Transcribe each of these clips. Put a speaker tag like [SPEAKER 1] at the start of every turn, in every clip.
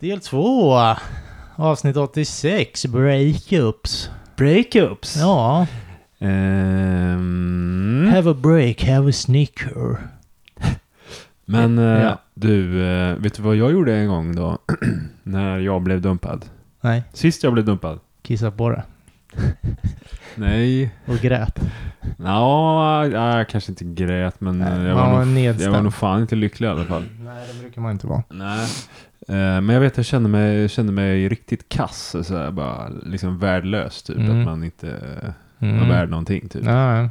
[SPEAKER 1] Del två. Avsnitt 86, breakups.
[SPEAKER 2] Breakups.
[SPEAKER 1] Ja,
[SPEAKER 2] Ehm,
[SPEAKER 1] have a break, have a snicker.
[SPEAKER 2] men eh,
[SPEAKER 1] Ja.
[SPEAKER 2] du, eh, vet du vad jag gjorde en gång då? när jag blev dumpad.
[SPEAKER 1] Nej,
[SPEAKER 2] Sist jag blev dumpad.
[SPEAKER 1] kissa på det.
[SPEAKER 2] Nej.
[SPEAKER 1] Och grät.
[SPEAKER 2] Ja, jag kanske inte grät men eh, jag
[SPEAKER 1] man var
[SPEAKER 2] var, nog, jag
[SPEAKER 1] nedstämd.
[SPEAKER 2] var nog fan inte lycklig i alla fall.
[SPEAKER 1] Nej, det brukar man inte vara.
[SPEAKER 2] Nej. Eh, Men jag vet, jag kände mig, kände mig riktigt kass, så här, bara liksom värdelös typ.
[SPEAKER 1] Mm.
[SPEAKER 2] Att man inte eh,
[SPEAKER 1] Mm.
[SPEAKER 2] var värd någonting typ.
[SPEAKER 1] Ja, ja.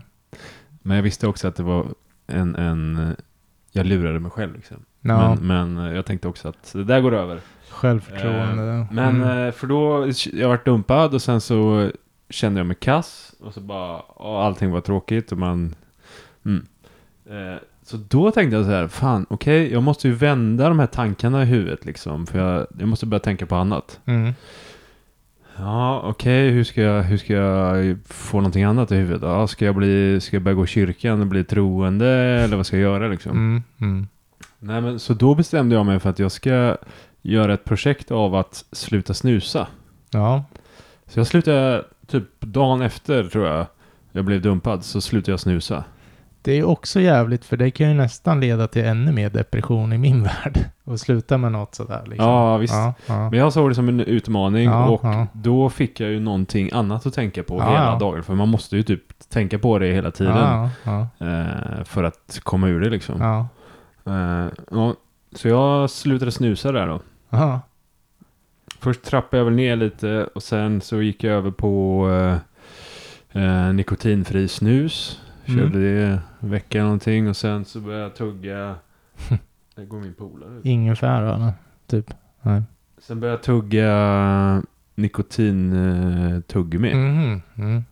[SPEAKER 2] Men jag visste också att det var en, en jag lurade mig själv liksom.
[SPEAKER 1] Ja,
[SPEAKER 2] Men, men eh, jag tänkte också att det där går över.
[SPEAKER 1] självförtroende.
[SPEAKER 2] Men
[SPEAKER 1] mm.
[SPEAKER 2] eh, för då, jag vart dumpad och sen så kände jag mig kass. Och så bara, och allting var tråkigt och man, mm. eh, Så då tänkte jag så här, fan okej, jag måste ju vända de här tankarna i huvudet liksom. För jag, jag måste börja tänka på annat.
[SPEAKER 1] Mm.
[SPEAKER 2] Ja, okej, hur, ska jag, hur ska jag få någonting annat i huvudet? Ja, ska, jag bli, ska jag börja gå i kyrkan och bli troende eller vad ska jag göra liksom?
[SPEAKER 1] Mm. Mm.
[SPEAKER 2] Nej, men, så då bestämde jag mig för att jag ska göra ett projekt av att sluta snusa.
[SPEAKER 1] Ja.
[SPEAKER 2] Så jag slutade typ dagen efter tror jag jag blev dumpad så slutade jag snusa.
[SPEAKER 1] Det är också jävligt för det kan ju nästan leda till ännu mer depression i min värld. Och sluta med något sådär liksom.
[SPEAKER 2] Ja, visst.
[SPEAKER 1] Ja, ja.
[SPEAKER 2] Men jag såg det som en utmaning
[SPEAKER 1] Ja,
[SPEAKER 2] och
[SPEAKER 1] ja.
[SPEAKER 2] då fick jag ju någonting annat att tänka på
[SPEAKER 1] Ja,
[SPEAKER 2] hela
[SPEAKER 1] ja.
[SPEAKER 2] dagen. För man måste ju typ tänka på det hela tiden
[SPEAKER 1] Ja, ja,
[SPEAKER 2] eh, för att komma ur det liksom.
[SPEAKER 1] ja.
[SPEAKER 2] Eh, ja, så jag slutade snusa där då.
[SPEAKER 1] ja.
[SPEAKER 2] Först trappade jag väl ner lite och sen så gick jag över på eh, eh, nikotinfri snus. Körde
[SPEAKER 1] Mm.
[SPEAKER 2] det en vecka någonting och sen så började jag tugga. Där går min polare ut.
[SPEAKER 1] Ingefära eller? Typ. Nej.
[SPEAKER 2] Sen började jag tugga nikotintuggummi. Eh, tuggummi.
[SPEAKER 1] Mhm, mm.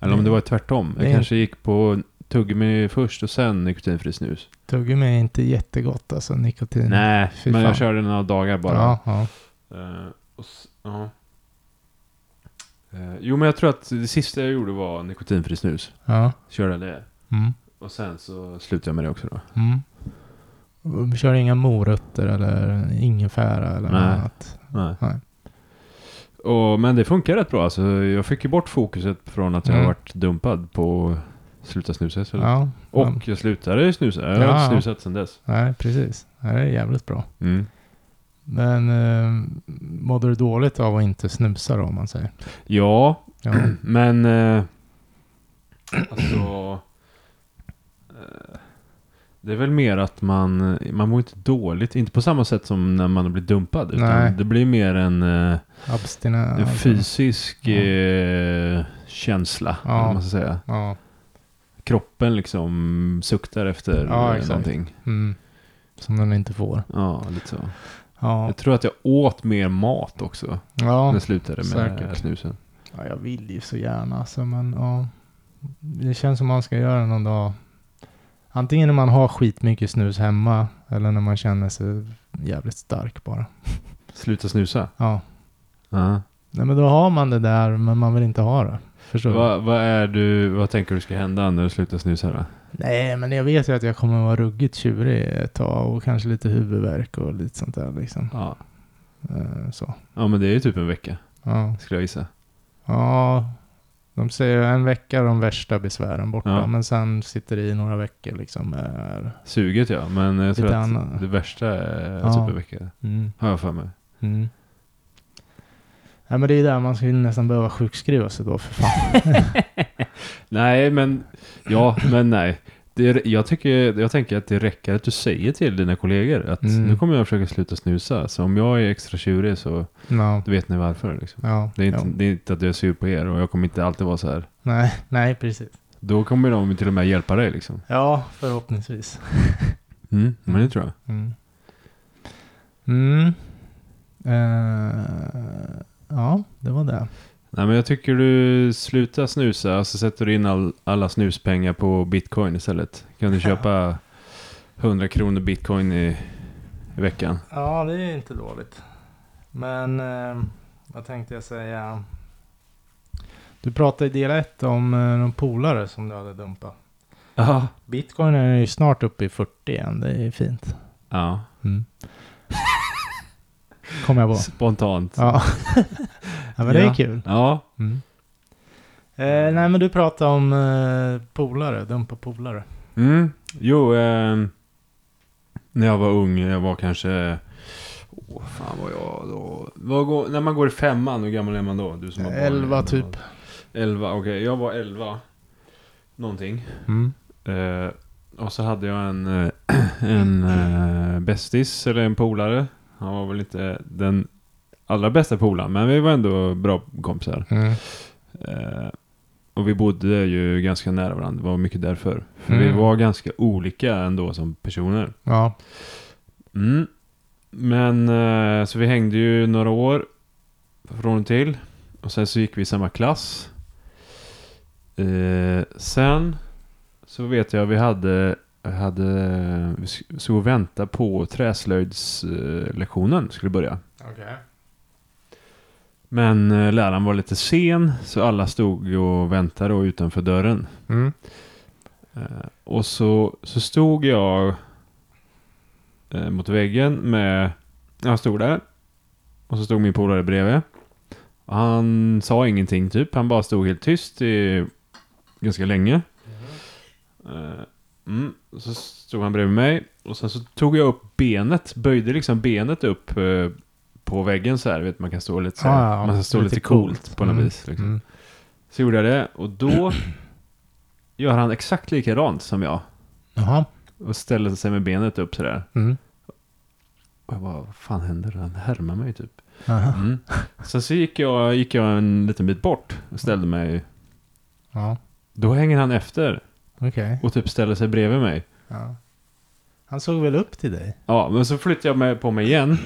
[SPEAKER 2] Eller om det var tvärtom. Jag
[SPEAKER 1] Det är-
[SPEAKER 2] kanske gick på tuggummi först och sen nikotinfri snus.
[SPEAKER 1] Tuggummi är inte jättegott alltså, nikotin.
[SPEAKER 2] Nej,
[SPEAKER 1] fy
[SPEAKER 2] men
[SPEAKER 1] fan.
[SPEAKER 2] jag körde några dagar bara.
[SPEAKER 1] Ja, ja.
[SPEAKER 2] Eh, och s- ja. Eh, jo, men jag tror att det sista jag gjorde var nikotinfri snus.
[SPEAKER 1] ja.
[SPEAKER 2] Körde det.
[SPEAKER 1] Mm.
[SPEAKER 2] Och sen så slutade jag med det också då.
[SPEAKER 1] Mm. Och Kör inga morötter eller ingefära eller något
[SPEAKER 2] Nej.
[SPEAKER 1] annat.
[SPEAKER 2] Nej.
[SPEAKER 1] Nej.
[SPEAKER 2] Och, men det funkar rätt bra. Alltså, jag fick ju bort fokuset från att jag
[SPEAKER 1] Mm.
[SPEAKER 2] varit dumpad på att sluta snusa. istället.
[SPEAKER 1] Ja. ja.
[SPEAKER 2] Och jag slutade ju snusa. Jag har
[SPEAKER 1] Ja,
[SPEAKER 2] inte
[SPEAKER 1] ja.
[SPEAKER 2] snusat sedan dess.
[SPEAKER 1] Nej, precis. Nej, Det är jävligt bra.
[SPEAKER 2] Mm.
[SPEAKER 1] Men eh, mådde du dåligt av att inte snusa då om man säger?
[SPEAKER 2] Ja,
[SPEAKER 1] Ja.
[SPEAKER 2] men... Eh, alltså... Eh, det är väl mer att man, man mår inte dåligt, inte på samma sätt som när man blir dumpad. Utan
[SPEAKER 1] Nej.
[SPEAKER 2] det blir mer en, eh,
[SPEAKER 1] Abstinens. alltså.
[SPEAKER 2] en fysisk
[SPEAKER 1] Ja.
[SPEAKER 2] eh, känsla,
[SPEAKER 1] Ja.
[SPEAKER 2] eller vad man ska säga.
[SPEAKER 1] Ja.
[SPEAKER 2] Kroppen liksom suktar efter
[SPEAKER 1] Ja,
[SPEAKER 2] eh,
[SPEAKER 1] exakt.
[SPEAKER 2] någonting.
[SPEAKER 1] Mm. Som den inte får.
[SPEAKER 2] Ja, lite så.
[SPEAKER 1] Ja.
[SPEAKER 2] Jag tror att jag åt mer mat också när
[SPEAKER 1] Ja.
[SPEAKER 2] jag slutade med
[SPEAKER 1] säkert.
[SPEAKER 2] snusen.
[SPEAKER 1] ja, jag vill ju så gärna alltså, men ja. Det känns som man ska göra någon dag. Antingen när man har skitmycket snus hemma eller när man känner sig jävligt stark bara.
[SPEAKER 2] Sluta snusa?
[SPEAKER 1] Ja.
[SPEAKER 2] Ja.
[SPEAKER 1] Nej men då har man det där men man vill inte ha det. Förstår du?
[SPEAKER 2] Vad, vad, är du, vad tänker du ska hända när du slutar snusa då?
[SPEAKER 1] Nej, men jag vet ju att jag kommer vara ruggigt tjurig ett tag och kanske lite huvudvärk och lite sånt där liksom.
[SPEAKER 2] Ja.
[SPEAKER 1] Eh, Så.
[SPEAKER 2] ja, men det är ju typ en vecka
[SPEAKER 1] Ja.
[SPEAKER 2] skulle jag gissa.
[SPEAKER 1] ja, de säger en vecka är de värsta besvären borta,
[SPEAKER 2] Ja.
[SPEAKER 1] men sen sitter det i några veckor liksom. Är...
[SPEAKER 2] Suget ja, men jag tror
[SPEAKER 1] Lite
[SPEAKER 2] att
[SPEAKER 1] annan.
[SPEAKER 2] det värsta är
[SPEAKER 1] Ja.
[SPEAKER 2] typ en vecka.
[SPEAKER 1] Mm.
[SPEAKER 2] Har jag för mig.
[SPEAKER 1] Mm. Nej, men det är ju där man skulle nästan behöva sjukskriva sig då för fan.
[SPEAKER 2] Nej, men ja, men nej. Det, jag, tycker, jag tänker att det räcker att du säger till dina kollegor att
[SPEAKER 1] Mm.
[SPEAKER 2] nu kommer jag försöka sluta snusa. Så om jag är extra tjurig så
[SPEAKER 1] Ja.
[SPEAKER 2] då vet ni varför. Liksom.
[SPEAKER 1] Ja.
[SPEAKER 2] Det, är inte,
[SPEAKER 1] ja.
[SPEAKER 2] det är inte att jag är sur på er och jag kommer inte alltid vara så här.
[SPEAKER 1] Nej, nej, precis.
[SPEAKER 2] Då kommer de till och med hjälpa dig liksom.
[SPEAKER 1] Ja, förhoppningsvis.
[SPEAKER 2] Mm, men det tror jag.
[SPEAKER 1] Mm. Mm. Eh, ja, det var det.
[SPEAKER 2] Nej, men jag tycker du slutar snusa och så sätter du in all, alla snuspengar på bitcoin istället. Kan du köpa 100 kronor bitcoin i, i veckan?
[SPEAKER 1] Ja, det är inte dåligt. Men eh, vad tänkte jag säga? Du pratade i del 1 om eh, någon polare som du hade dumpat.
[SPEAKER 2] Ja.
[SPEAKER 1] Bitcoin är ju snart uppe i 40 igen, det är ju fint.
[SPEAKER 2] ja.
[SPEAKER 1] Mm. Kommer jag på.
[SPEAKER 2] Spontant.
[SPEAKER 1] Ja. ja, men det
[SPEAKER 2] Ja.
[SPEAKER 1] är kul.
[SPEAKER 2] Ja.
[SPEAKER 1] Mm. Eh, nej, men du pratade om eh, polare, dumpa polare.
[SPEAKER 2] Mm. Jo, eh, när jag var ung, jag var kanske... Åh, fan var jag då? Vad går, när man går i femman, hur gammal är man då? Du som har barn.
[SPEAKER 1] Elva typ.
[SPEAKER 2] Elva, okej. Jag var elva. Någonting.
[SPEAKER 1] Mm.
[SPEAKER 2] Eh, och så hade jag en, eh, en eh, bästis, eller en polare. Han var väl inte den allra bästa polaren, men vi var ändå bra kompisar.
[SPEAKER 1] Mm.
[SPEAKER 2] Eh, och vi bodde ju ganska nära varandra, det var mycket därför. För
[SPEAKER 1] Mm.
[SPEAKER 2] vi var ganska olika ändå som personer.
[SPEAKER 1] Ja.
[SPEAKER 2] Mm. Men, eh, så vi hängde ju några år från och till. Och sen så gick vi i samma klass. Eh, sen så vet jag vi hade, hade vi sk- såg och väntade på träslöjdslektionen skulle börja.
[SPEAKER 1] Okej.
[SPEAKER 2] Men eh, läraren var lite sen så alla stod och väntade och utanför dörren.
[SPEAKER 1] Mm.
[SPEAKER 2] Eh, och så, så stod jag eh, mot väggen med... Jag stod där. Och så stod min polare bredvid. Och han sa ingenting typ. Han bara stod helt tyst i ganska länge. Eh, mm. Och Så stod han bredvid mig. Och sen så tog jag upp benet. Böjde liksom benet upp eh, på väggen så här. Vet, man kan stå lite så här.
[SPEAKER 1] Ah, ja.
[SPEAKER 2] man kan stå lite,
[SPEAKER 1] Lite
[SPEAKER 2] coolt, på något
[SPEAKER 1] Mm.
[SPEAKER 2] vis. Liksom.
[SPEAKER 1] Mm.
[SPEAKER 2] Så gjorde jag det. Och då gör han exakt likadant som jag.
[SPEAKER 1] Jaha.
[SPEAKER 2] Och ställer sig med benet upp sådär.
[SPEAKER 1] Mm.
[SPEAKER 2] Och jag bara, vad fan händer? Han härmar mig typ.
[SPEAKER 1] Aha.
[SPEAKER 2] Mm. Sen så gick jag, gick jag en liten bit bort och ställde mig.
[SPEAKER 1] Ja.
[SPEAKER 2] Då hänger han efter
[SPEAKER 1] Okej.
[SPEAKER 2] och typ ställer sig bredvid mig.
[SPEAKER 1] Ja. Han såg väl upp till dig?
[SPEAKER 2] Ja, men så flyttar jag mig på mig igen.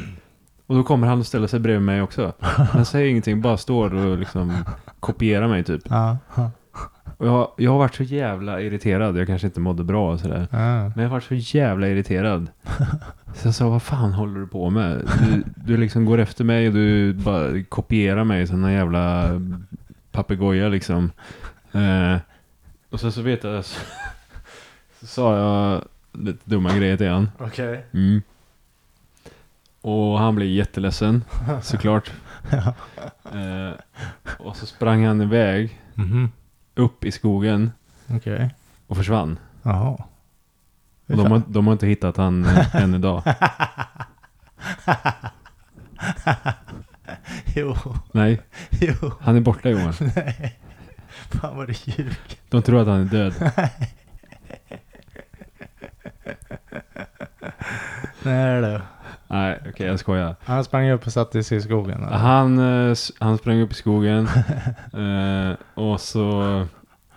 [SPEAKER 2] Och då kommer han och ställer sig bredvid mig också. Han säger ingenting, bara står och liksom kopierar mig typ.
[SPEAKER 1] Ja.
[SPEAKER 2] Och jag, jag har varit så jävla irriterad. Jag kanske inte mådde bra och sådär.
[SPEAKER 1] Ja.
[SPEAKER 2] Men jag var så jävla irriterad. Så jag sa, vad fan håller du på med? Du, du liksom går efter mig och du bara kopierar mig som en jävla papegoja liksom. Eh, och sen så vet jag, så, så sa jag lite dumma grejer till honom.
[SPEAKER 1] Okej.
[SPEAKER 2] Mm. Och han blev jätteledsen, såklart.
[SPEAKER 1] Ja.
[SPEAKER 2] Eh, och så sprang han iväg,
[SPEAKER 1] Mhm.
[SPEAKER 2] upp i skogen
[SPEAKER 1] Okej.
[SPEAKER 2] och försvann.
[SPEAKER 1] Jaha.
[SPEAKER 2] Och de, har, de har inte hittat han eh, än idag.
[SPEAKER 1] Jo,
[SPEAKER 2] Nej,
[SPEAKER 1] jo.
[SPEAKER 2] han är borta Johan.
[SPEAKER 1] Nej. Fan vad du ljuger.
[SPEAKER 2] De tror att han är död.
[SPEAKER 1] Nej du.
[SPEAKER 2] Nej, okej jag skojar.
[SPEAKER 1] Han sprang upp och satte sig i skogen. eller?
[SPEAKER 2] Han, eh, s- han sprang upp i skogen eh, och så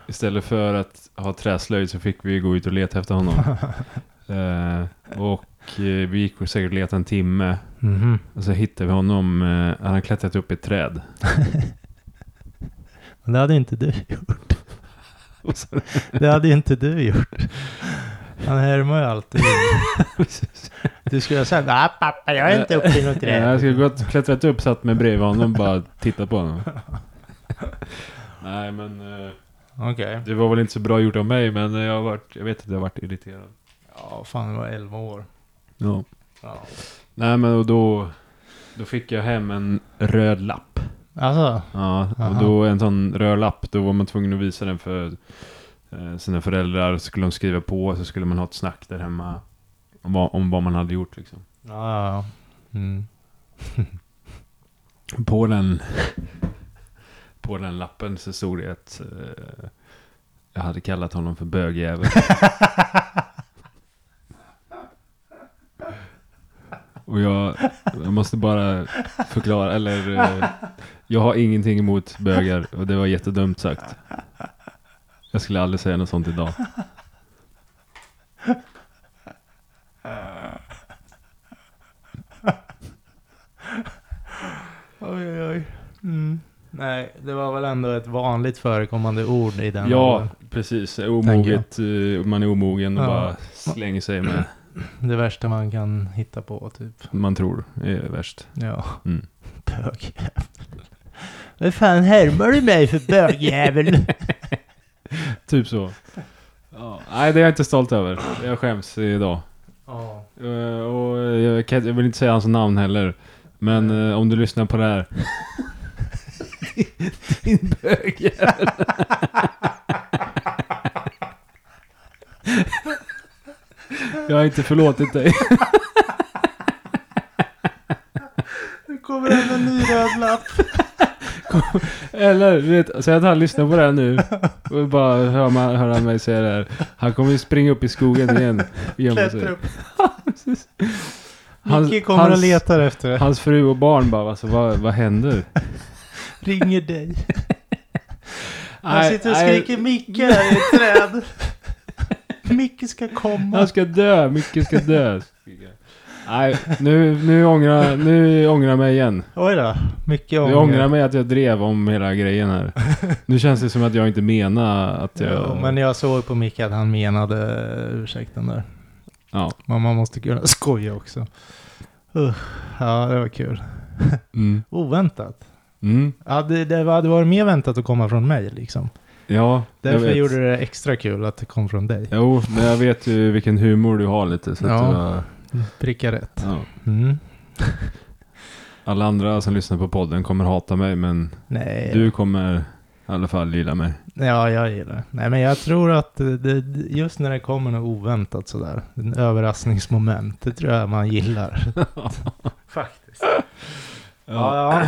[SPEAKER 2] istället för att ha träslöjd så fick vi gå ut och leta efter honom. Eh, och eh, vi gick och säkert leta en timme
[SPEAKER 1] Mhm.
[SPEAKER 2] och så hittade vi honom. Eh, han hade klättrat upp i ett träd.
[SPEAKER 1] Men det hade ju inte du gjort.
[SPEAKER 2] Och så-
[SPEAKER 1] Det hade ju inte du gjort. Han härmar ju alltid. Du skulle ha sagt nej pappa jag är inte uppe i något
[SPEAKER 2] Ja, jag
[SPEAKER 1] träd.
[SPEAKER 2] skulle gått klättrat upp, satt mig bredvid honom och bara tittat på honom. Nej men eh,
[SPEAKER 1] Okej.
[SPEAKER 2] det var väl inte så bra gjort av mig men jag, har varit, jag vet att jag har varit irriterad.
[SPEAKER 1] Ja fan det var 11 år.
[SPEAKER 2] Ja.
[SPEAKER 1] Ja.
[SPEAKER 2] Nej men och då, då fick jag hem en röd lapp.
[SPEAKER 1] Alltså.
[SPEAKER 2] Ja, och
[SPEAKER 1] Aha.
[SPEAKER 2] då en sån röd lapp, då var man tvungen att visa den för eh, sina föräldrar. Så skulle de skriva på, så skulle man ha ett snack där hemma. Om vad, om vad man hade gjort liksom.
[SPEAKER 1] Ja ja. ja. Mm.
[SPEAKER 2] På den, på den lappen så stod det att eh, jag hade kallat honom för bögjävel. Och jag, jag måste bara förklara, eller eh, jag har ingenting emot bögar och det var jättedumt sagt. Jag skulle aldrig säga något sånt idag.
[SPEAKER 1] Mm. ändå ett vanligt förekommande ord i den
[SPEAKER 2] Ja,
[SPEAKER 1] åldern.
[SPEAKER 2] precis.
[SPEAKER 1] Tänker
[SPEAKER 2] Omoget, eh, man är omogen och
[SPEAKER 1] Ja.
[SPEAKER 2] bara slänger sig med
[SPEAKER 1] Det värsta man kan hitta på, typ.
[SPEAKER 2] man tror är värst.
[SPEAKER 1] Ja.
[SPEAKER 2] Mm.
[SPEAKER 1] Bögjävel. Vad fan härmar du mig för bögjävel?
[SPEAKER 2] Typ så. Ja. Nej, det är jag inte stolt över. Jag skäms idag.
[SPEAKER 1] Ja.
[SPEAKER 2] Eh, och jag, kan, jag vill inte säga hans namn heller. Men eh, om du lyssnar på det här. Din bögjävel. jag har inte förlåtit dig.
[SPEAKER 1] Nu kommer det en ny röd lapp.
[SPEAKER 2] Eller, du vet, säg att han lyssnar på det här nu. Och bara hör, man, hör han mig säga det här. Han kommer ju springa upp i skogen igen. och gömma sig.
[SPEAKER 1] Klättra upp.
[SPEAKER 2] Precis. Hans-
[SPEAKER 1] Micke kommer
[SPEAKER 2] hans-
[SPEAKER 1] och letar efter det.
[SPEAKER 2] Hans fru och barn bara, alltså, vad, vad händer?
[SPEAKER 1] Ringer dig. Han
[SPEAKER 2] Nej,
[SPEAKER 1] sitter och
[SPEAKER 2] nej,
[SPEAKER 1] skriker Micke här i ett träd. Micke ska komma.
[SPEAKER 2] Han ska dö, Micke ska dö. Nej, nu, nu, ångrar, nu ångrar jag mig igen.
[SPEAKER 1] Oj då. Micke ångrar.
[SPEAKER 2] Jag ångrar mig att jag drev om hela grejen här. Nu känns det som att jag inte menar att eh, jag...
[SPEAKER 1] Jo, men jag såg på Micke att han menade eh, ursäkten där.
[SPEAKER 2] Ja.
[SPEAKER 1] Men man måste kunna skoja också. Uh, ja, det var kul.
[SPEAKER 2] Mm.
[SPEAKER 1] Oväntat.
[SPEAKER 2] Mm.
[SPEAKER 1] Ja, det, det hade varit mer väntat att komma från mig liksom.
[SPEAKER 2] Ja, jag
[SPEAKER 1] Därför
[SPEAKER 2] vet.
[SPEAKER 1] gjorde det extra kul att det kom från dig.
[SPEAKER 2] Jo, men jag vet ju vilken humor du har lite. Så
[SPEAKER 1] Ja.
[SPEAKER 2] att du har,
[SPEAKER 1] Pricka rätt.
[SPEAKER 2] ja.
[SPEAKER 1] Mm.
[SPEAKER 2] Alla andra som lyssnar på podden kommer hata mig, men
[SPEAKER 1] Nej.
[SPEAKER 2] du kommer i alla fall gilla mig.
[SPEAKER 1] Ja, jag gillar det. Nej, men jag tror att det- det, just när det kommer något oväntat sådär, en överraskningsmoment, det tror jag man gillar. Faktiskt. Ja, ja.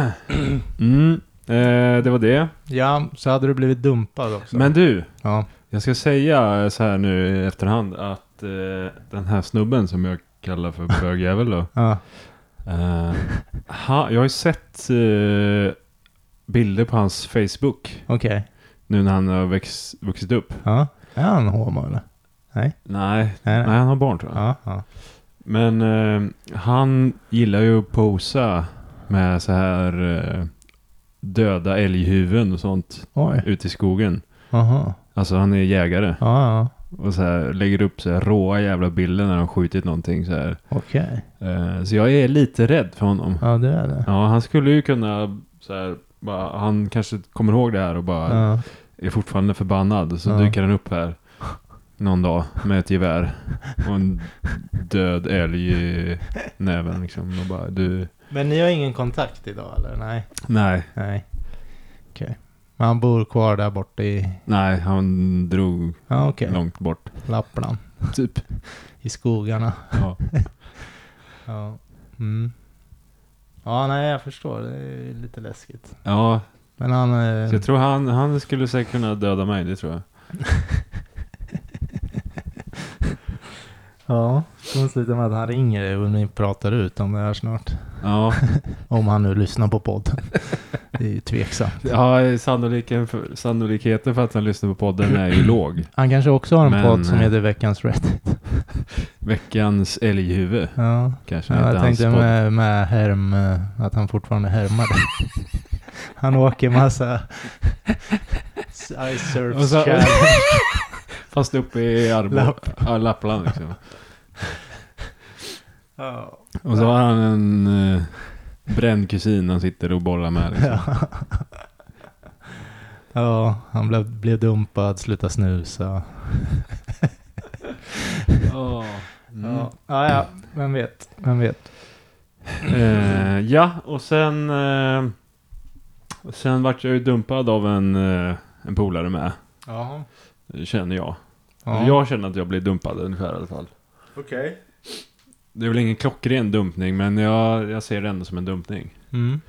[SPEAKER 2] Mm, eh, det var det.
[SPEAKER 1] ja, så hade du blivit dumpad också.
[SPEAKER 2] Men du,
[SPEAKER 1] Ja,
[SPEAKER 2] jag ska säga så här nu i efterhand att eh, den här snubben som jag kallar för bögjävel då.
[SPEAKER 1] ja.
[SPEAKER 2] Eh, ha, jag har ju sett eh, bilder på hans Facebook
[SPEAKER 1] okej.
[SPEAKER 2] nu när han har växt, vuxit upp.
[SPEAKER 1] Ja. Är han homo eller?
[SPEAKER 2] Nej,
[SPEAKER 1] Nej,
[SPEAKER 2] nej, han har barn tror jag.
[SPEAKER 1] Ja, ja.
[SPEAKER 2] Men eh, han gillar ju att posa med så här eh, döda älghuvuden och sånt
[SPEAKER 1] Oj,
[SPEAKER 2] ute i skogen.
[SPEAKER 1] aha.
[SPEAKER 2] Alltså han är jägare
[SPEAKER 1] Ja, ja.
[SPEAKER 2] och så här, lägger upp så här råa jävla bilder när han skjutit någonting så här.
[SPEAKER 1] Okej.
[SPEAKER 2] Eh, så jag är lite rädd för honom.
[SPEAKER 1] Ja, det är det.
[SPEAKER 2] Ja, han skulle ju kunna så här, bara, han kanske kommer ihåg det här och bara
[SPEAKER 1] Ja.
[SPEAKER 2] är fortfarande förbannad. Så
[SPEAKER 1] Ja.
[SPEAKER 2] dyker han upp här någon dag med ett gevär och en död älg i näven liksom. Och bara, du,
[SPEAKER 1] Men ni har ingen kontakt idag eller? Nej.
[SPEAKER 2] nej,
[SPEAKER 1] Nej. Okej. Men han bor kvar där borta i...
[SPEAKER 2] nej, han drog
[SPEAKER 1] Ja, okej.
[SPEAKER 2] långt bort.
[SPEAKER 1] Lappland.
[SPEAKER 2] Typ.
[SPEAKER 1] I skogarna.
[SPEAKER 2] Ja.
[SPEAKER 1] Ja. Mm. Ja, nej, jag förstår. Det är lite läskigt.
[SPEAKER 2] ja,
[SPEAKER 1] Men han...
[SPEAKER 2] så
[SPEAKER 1] Eh,
[SPEAKER 2] jag tror han, han skulle säkert kunna döda mig, det tror jag.
[SPEAKER 1] ja, det slutar med att han ringer dig och ni pratar ut om det här snart.
[SPEAKER 2] Ja,
[SPEAKER 1] Om han nu lyssnar på podden. Det är ju tveksamt.
[SPEAKER 2] ja sannoliken för, sannolikheten för att han lyssnar på podden är ju låg.
[SPEAKER 1] Han kanske också har en
[SPEAKER 2] Men,
[SPEAKER 1] podd som
[SPEAKER 2] eh,
[SPEAKER 1] heter Veckans Reddit.
[SPEAKER 2] Veckans älghuvud
[SPEAKER 1] Ja.
[SPEAKER 2] kanske
[SPEAKER 1] Ja,
[SPEAKER 2] heter
[SPEAKER 1] jag
[SPEAKER 2] hans
[SPEAKER 1] tänkte
[SPEAKER 2] podd.
[SPEAKER 1] med, med Herm, eh, att han fortfarande härmar dig. Han åker massa Ice
[SPEAKER 2] Och
[SPEAKER 1] Surfs
[SPEAKER 2] så-
[SPEAKER 1] Challenge.
[SPEAKER 2] Fast uppe i Arbo,
[SPEAKER 1] Lapp.
[SPEAKER 2] ja, Lappland liksom.
[SPEAKER 1] Ja.
[SPEAKER 2] Och så har han en eh, bränd kusin han sitter och bollar med. Liksom.
[SPEAKER 1] Ja. ja, han blev, blev dumpad, slutade snusa.
[SPEAKER 2] Mm.
[SPEAKER 1] Ja, ja, ja, vem vet. Vem vet.
[SPEAKER 2] Eh, ja, och sen... Eh, och sen vart jag ju dumpad av en, eh, en polare med,
[SPEAKER 1] Ja,
[SPEAKER 2] känner jag. Alltså, jag känner att jag blev dumpad ungefär i alla fall.
[SPEAKER 1] okej.
[SPEAKER 2] Det är väl ingen klockren dumpning, men jag, jag ser det ändå som en dumpning.
[SPEAKER 1] Mm.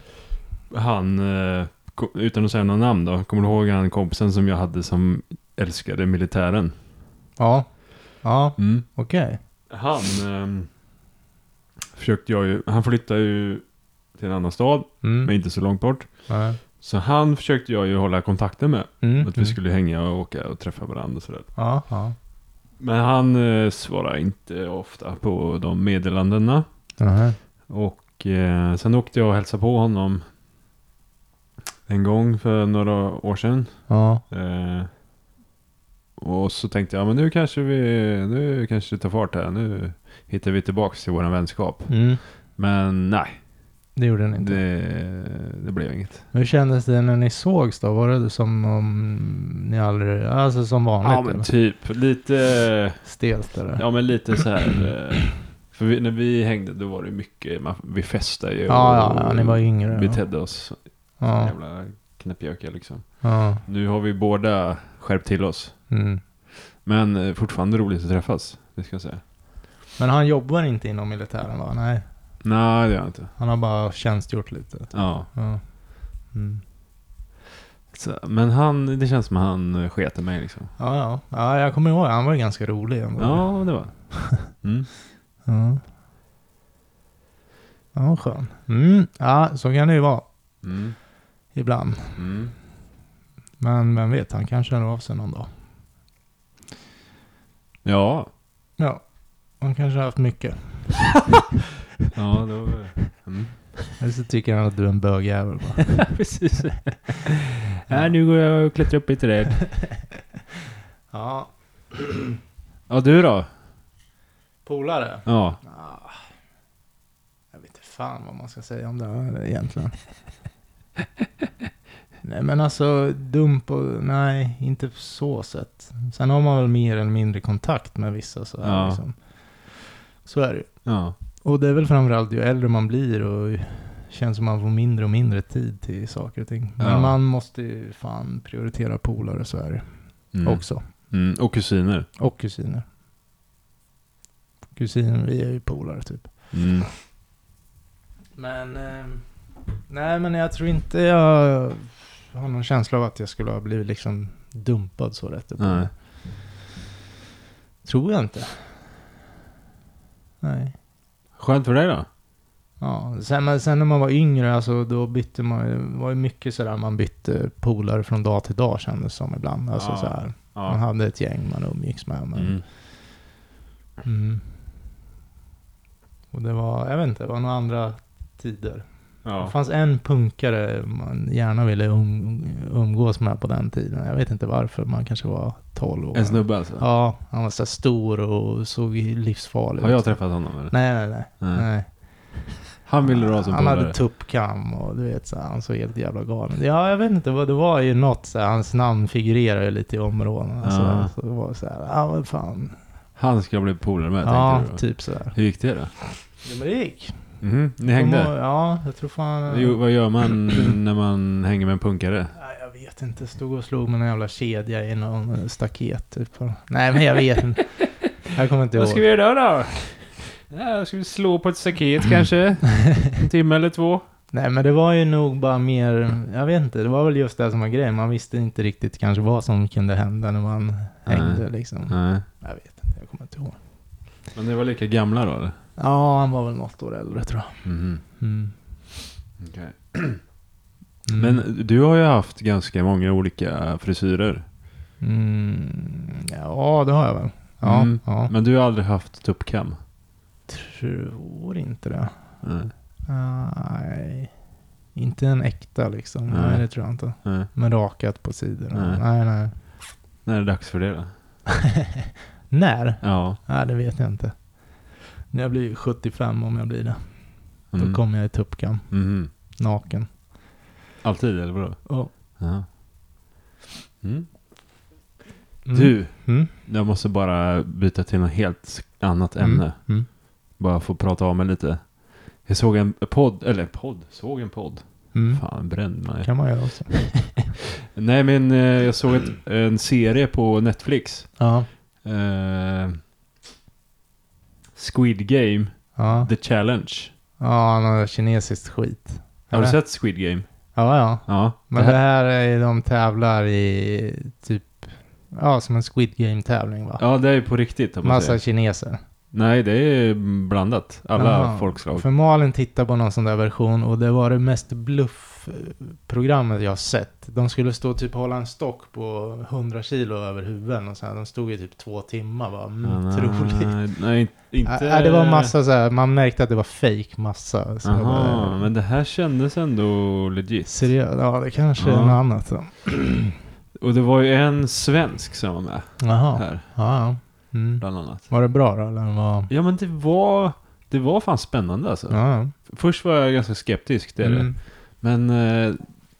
[SPEAKER 2] Han, eh, ko- utan att säga några namn då, kommer du ihåg han kompisen som jag hade som älskade militären?
[SPEAKER 1] Ja, ja,
[SPEAKER 2] Mm.
[SPEAKER 1] okej.
[SPEAKER 2] Han ehm, försökte jag ju, han flyttade ju till en annan stad,
[SPEAKER 1] Mm.
[SPEAKER 2] men inte så långt bort.
[SPEAKER 1] Ja.
[SPEAKER 2] Så han försökte jag ju hålla kontakten med.
[SPEAKER 1] Mm.
[SPEAKER 2] Att vi skulle hänga och åka och träffa varandra och sådär.
[SPEAKER 1] Ja, ja.
[SPEAKER 2] Men han eh, svarar inte ofta på de meddelandena.
[SPEAKER 1] Jaha.
[SPEAKER 2] Och eh, sen åkte jag och hälsade på honom en gång för några år sedan.
[SPEAKER 1] Ja.
[SPEAKER 2] Eh, och så tänkte jag, men nu kanske vi nu kanske det tar fart här. Nu hittar vi tillbaks till våran vänskap.
[SPEAKER 1] Mm.
[SPEAKER 2] Men nej,
[SPEAKER 1] Det gjorde den inte.
[SPEAKER 2] det, det blev inget.
[SPEAKER 1] Hur kändes det när ni sågs då? Var det som om ni aldrig... Alltså som vanligt?
[SPEAKER 2] Ja men
[SPEAKER 1] eller?
[SPEAKER 2] typ lite,
[SPEAKER 1] Stelt eller?
[SPEAKER 2] ja men lite så här. eh, För vi, när vi hängde då var det mycket, man, vi festade ju.
[SPEAKER 1] Ja, ja, ja, ni var yngre. ja.
[SPEAKER 2] Betedde oss som
[SPEAKER 1] Ja.
[SPEAKER 2] jävla knäppjökar liksom.
[SPEAKER 1] ja.
[SPEAKER 2] Nu har vi båda skärpt till oss.
[SPEAKER 1] Mm.
[SPEAKER 2] Men eh, fortfarande roligt att träffas, det ska jag säga.
[SPEAKER 1] Men han jobbar inte inom militären va? Nej.
[SPEAKER 2] Nej, det gör jag inte.
[SPEAKER 1] Han har bara tjänstgjort lite.
[SPEAKER 2] Ja.
[SPEAKER 1] Ja. Mm.
[SPEAKER 2] Så, men han, det känns som han eh, sket i mig liksom.
[SPEAKER 1] Ja, ja. ja, jag kommer ihåg. Han var ju ganska rolig ändå.
[SPEAKER 2] Ja, det var mm.
[SPEAKER 1] Ja, ja skön. Mm. Ja, så kan det ju vara
[SPEAKER 2] Mm.
[SPEAKER 1] ibland.
[SPEAKER 2] Mm.
[SPEAKER 1] Men vem vet, han kanske hör av sig någon dag.
[SPEAKER 2] Ja.
[SPEAKER 1] Ja, han kanske har haft mycket.
[SPEAKER 2] Ja, det var... Mm.
[SPEAKER 1] Eller så tycker han att du är en bögjävel bara.
[SPEAKER 2] Precis. Nej, nu går jag och klättrar upp lite där.
[SPEAKER 1] Ja,
[SPEAKER 2] Ja, du då?
[SPEAKER 1] polare.
[SPEAKER 2] Ja.
[SPEAKER 1] Ah, Jag vet inte fan vad man ska säga om det här egentligen. nej men alltså dum på, nej inte på så sätt. Sen har man väl mer eller mindre kontakt med vissa så här
[SPEAKER 2] Ja.
[SPEAKER 1] liksom. Så är det ju.
[SPEAKER 2] Ja.
[SPEAKER 1] Och det är väl framförallt ju äldre man blir och ju- känns som man får mindre och mindre tid till saker och ting. Men
[SPEAKER 2] Ja.
[SPEAKER 1] man måste ju fan prioritera polare så är det
[SPEAKER 2] Mm.
[SPEAKER 1] också.
[SPEAKER 2] Mm. Och kusiner.
[SPEAKER 1] Och kusiner. Kusiner, vi är ju polare typ.
[SPEAKER 2] Mm.
[SPEAKER 1] Men, eh, nej men jag tror inte jag har någon känsla av att jag skulle ha blivit liksom dumpad så rätt upp.
[SPEAKER 2] Nej.
[SPEAKER 1] Tror jag inte. Nej.
[SPEAKER 2] Skönt för dig då?
[SPEAKER 1] Ja, sen, men sen när man var yngre, alltså, då bytte man ju- var ju mycket sådär man bytte polare från dag till dag kändes som ibland. Alltså,
[SPEAKER 2] Ja,
[SPEAKER 1] såhär, Man
[SPEAKER 2] Ja.
[SPEAKER 1] hade ett gäng man umgicks med. Men,
[SPEAKER 2] Mm.
[SPEAKER 1] Mm. Och det var, jag vet inte, det var några andra tider. Det
[SPEAKER 2] Ja.
[SPEAKER 1] fanns en punkare man gärna ville um, umgås med på den tiden. Jag vet inte varför, man kanske var 12 år.
[SPEAKER 2] En snubbe alltså?
[SPEAKER 1] Ja, han var så här stor och såg livsfarlig
[SPEAKER 2] Har jag
[SPEAKER 1] ut.
[SPEAKER 2] träffat honom eller?
[SPEAKER 1] Nej, nej, nej. nej.
[SPEAKER 2] Han ville du ha som
[SPEAKER 1] Han hade
[SPEAKER 2] polare?
[SPEAKER 1] tuppkam och du vet så här, han såg helt jävla galen Ja, jag vet inte vad det var ju något så här, hans namn figurerar ju lite i områdena. Så,
[SPEAKER 2] Ja.
[SPEAKER 1] så det var så här, ja vad fan.
[SPEAKER 2] Han ska jag bli polare med
[SPEAKER 1] Ja,
[SPEAKER 2] tänkte du då?
[SPEAKER 1] typ så här.
[SPEAKER 2] Hur gick det då?
[SPEAKER 1] Ja, men det gick.
[SPEAKER 2] Mhm, Ni hängde?
[SPEAKER 1] De- eh, Ja, jag tror fan...
[SPEAKER 2] Jo, vad gör man när man hänger med en punkare?
[SPEAKER 1] Nej, jag vet inte. Stod och slog med en jävla kedja i någon eh, staket typ. Nej, men jag vet inte. Jag kommer inte ihåg.
[SPEAKER 2] göra då? då? Ja, ska vi slå på ett staket kanske? En timme eller två?
[SPEAKER 1] Nej, men det var ju nog bara mer... Jag vet inte. Det var väl just det som var grejen. Man visste inte riktigt kanske vad som kunde hända när man hängde liksom.
[SPEAKER 2] Nej.
[SPEAKER 1] Jag vet inte. Jag kommer inte ihåg.
[SPEAKER 2] Men ni var lika gamla då eller?
[SPEAKER 1] Ja, han var väl något år äldre tror jag.
[SPEAKER 2] Mhm.
[SPEAKER 1] Mm.
[SPEAKER 2] Okej.
[SPEAKER 1] Mm.
[SPEAKER 2] Men du har ju haft ganska många olika frisyrer.
[SPEAKER 1] Mm. Ja, det har jag väl. Ja,
[SPEAKER 2] Mm.
[SPEAKER 1] ja.
[SPEAKER 2] Men du har aldrig haft tuppkam?
[SPEAKER 1] Tror inte det.
[SPEAKER 2] Nej.
[SPEAKER 1] Nej. Inte en äkta liksom.
[SPEAKER 2] Nej.
[SPEAKER 1] Nej, det tror jag inte.
[SPEAKER 2] Nej.
[SPEAKER 1] Men rakat på sidorna.
[SPEAKER 2] Nej.
[SPEAKER 1] Nej, nej.
[SPEAKER 2] När är det dags för det då?
[SPEAKER 1] När?
[SPEAKER 2] Ja.
[SPEAKER 1] Nej, det vet jag inte. När jag blir 75, om jag blir det,
[SPEAKER 2] Mm.
[SPEAKER 1] då kommer jag i tuppkam.
[SPEAKER 2] Mhm.
[SPEAKER 1] Naken.
[SPEAKER 2] Alltid eller vadå?
[SPEAKER 1] Ja.
[SPEAKER 2] Ja. Mm.
[SPEAKER 1] Mm.
[SPEAKER 2] Du,
[SPEAKER 1] Mm.
[SPEAKER 2] jag måste bara byta till något helt annat
[SPEAKER 1] Mm.
[SPEAKER 2] ämne.
[SPEAKER 1] Mm.
[SPEAKER 2] Bara få prata av mig lite. Jag såg en podd, eller podd, såg en podd.
[SPEAKER 1] Mm.
[SPEAKER 2] Fan, bränn mig.
[SPEAKER 1] kan man göra också.
[SPEAKER 2] Nej men eh, jag såg ett, en serie på Netflix.
[SPEAKER 1] Ja.
[SPEAKER 2] Eh, Squid Game,
[SPEAKER 1] Ja.
[SPEAKER 2] The Challenge.
[SPEAKER 1] Ja, något kinesiskt skit.
[SPEAKER 2] Har du
[SPEAKER 1] Eller?
[SPEAKER 2] sett Squid Game?
[SPEAKER 1] Ja, ja.
[SPEAKER 2] Ja.
[SPEAKER 1] Men
[SPEAKER 2] Det
[SPEAKER 1] det här
[SPEAKER 2] här-
[SPEAKER 1] är ju- de tävlar i typ, ja, som en Squid Game-tävling va?
[SPEAKER 2] Ja, det är ju på riktigt. om man
[SPEAKER 1] Massa
[SPEAKER 2] säger.
[SPEAKER 1] kineser.
[SPEAKER 2] Nej, det är blandat. Alla
[SPEAKER 1] Jaha.
[SPEAKER 2] folkslag.
[SPEAKER 1] För Malin tittade på någon sån där version och det var det mest bluffprogrammet jag har sett. De skulle stå och typ hålla en stock på 100 kilo över huven och så här. De stod i typ två timmar bara, mm,
[SPEAKER 2] Nej,
[SPEAKER 1] troligt.
[SPEAKER 2] eh, Nej, inte...
[SPEAKER 1] Inte... det var massa så här, man märkte att det var fake massa. Så jag
[SPEAKER 2] Aha,
[SPEAKER 1] bara,
[SPEAKER 2] men det här kändes ändå legit.
[SPEAKER 1] Seriöst, ja det kanske är
[SPEAKER 2] Ja.
[SPEAKER 1] något annat då.
[SPEAKER 2] Och det var ju en svensk som var med
[SPEAKER 1] Jaha,
[SPEAKER 2] här,
[SPEAKER 1] ja, ja. Mm.
[SPEAKER 2] bland annat.
[SPEAKER 1] Var det bra då eller var...
[SPEAKER 2] Ja men det var, det var fan spännande alltså.
[SPEAKER 1] Ja, ja.
[SPEAKER 2] Först var jag ganska skeptisk, det är det.
[SPEAKER 1] Mm.
[SPEAKER 2] Men eh,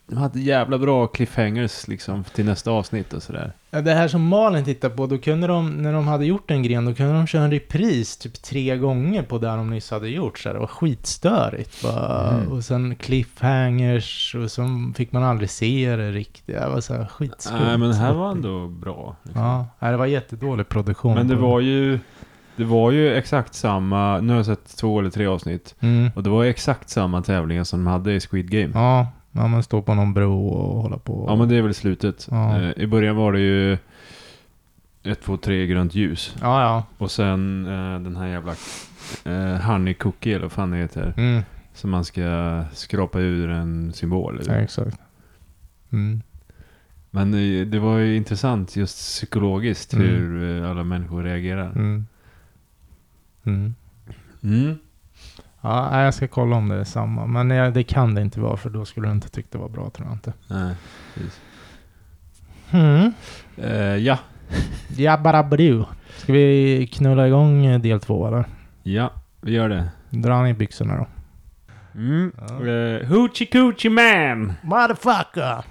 [SPEAKER 2] de hade jävla bra cliffhangers liksom till nästa avsnitt och sådär.
[SPEAKER 1] Ja, Det här som Malin tittar på, då kunde de, när de hade gjort en gren, då kunde de köra en repris typ tre gånger på där de nyss hade gjort. Så här, det var skitstörigt. Bara.
[SPEAKER 2] Mm.
[SPEAKER 1] Och sen cliffhangers och så fick man aldrig se det riktigt. Det var så här skitskumt.
[SPEAKER 2] Nej men det här var ändå bra. liksom.
[SPEAKER 1] Ja, nej, det var jättedålig produktion.
[SPEAKER 2] Men det var ju, det var ju exakt samma, nu har jag sett två eller tre avsnitt.
[SPEAKER 1] Mm.
[SPEAKER 2] Och det var ju exakt samma tävlingar som de hade i Squid Game. Ja,
[SPEAKER 1] Ja, ja, man står på någon bro och håller på.
[SPEAKER 2] men det är väl slutet.
[SPEAKER 1] Ja.
[SPEAKER 2] Eh, I början var det ju ett, två, tre grönt ljus.
[SPEAKER 1] Ja, ja.
[SPEAKER 2] Och sen eh, den här jävla eh, honey cookie eller vad fan det heter.
[SPEAKER 1] Mm.
[SPEAKER 2] Som man ska skrapa ur en symbol.
[SPEAKER 1] ja
[SPEAKER 2] Eller?
[SPEAKER 1] exakt. Mm.
[SPEAKER 2] Men eh, det var ju intressant just psykologiskt
[SPEAKER 1] Mm.
[SPEAKER 2] hur eh, alla människor reagerar.
[SPEAKER 1] Mm. Mm.
[SPEAKER 2] Mm.
[SPEAKER 1] Ja, nej, jag ska kolla om det är samma. Men nej, det kan det inte vara, för då skulle du inte tyckt det var bra, tror jag inte.
[SPEAKER 2] Nej.
[SPEAKER 1] Mm.
[SPEAKER 2] Eh, ja,
[SPEAKER 1] Jabbarabbru. Ska vi knulla igång eh, del två, eller?
[SPEAKER 2] ja, vi gör det.
[SPEAKER 1] Dra ner byxorna då.
[SPEAKER 2] Mm.
[SPEAKER 1] Ja.
[SPEAKER 2] Eh, Hoochie Coochie Man!
[SPEAKER 1] Motherfucker!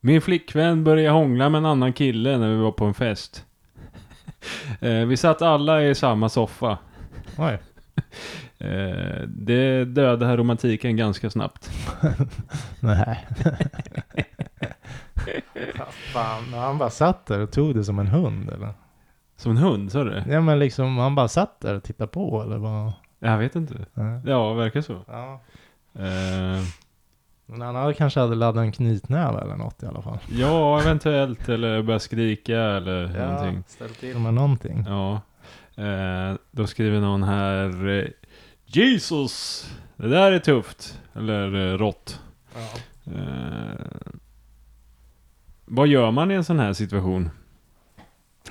[SPEAKER 2] Min flickvän började hångla med en annan kille när vi var på en fest. eh, vi satt alla i samma soffa.
[SPEAKER 1] Oj.
[SPEAKER 2] Eh, det dödade här romantiken ganska snabbt.
[SPEAKER 1] Nej. Fan, han bara satt där och tog det som en hund, eller?
[SPEAKER 2] Som en hund, sa du det?
[SPEAKER 1] Ja, men liksom, han bara satt där och tittade på, eller vad?
[SPEAKER 2] Jag vet inte.
[SPEAKER 1] Nej.
[SPEAKER 2] Ja, verkar så.
[SPEAKER 1] Ja.
[SPEAKER 2] Eh,
[SPEAKER 1] Men han hade kanske hade laddat en knytnäve eller något i alla fall.
[SPEAKER 2] ja, eventuellt. Eller börja skrika eller någonting.
[SPEAKER 1] ställt till med någonting.
[SPEAKER 2] Ja. Eh, då skriver någon här eh, Jesus! Det där är tufft. Eller eh, rått.
[SPEAKER 1] Ja.
[SPEAKER 2] Eh, vad gör man i en sån här situation?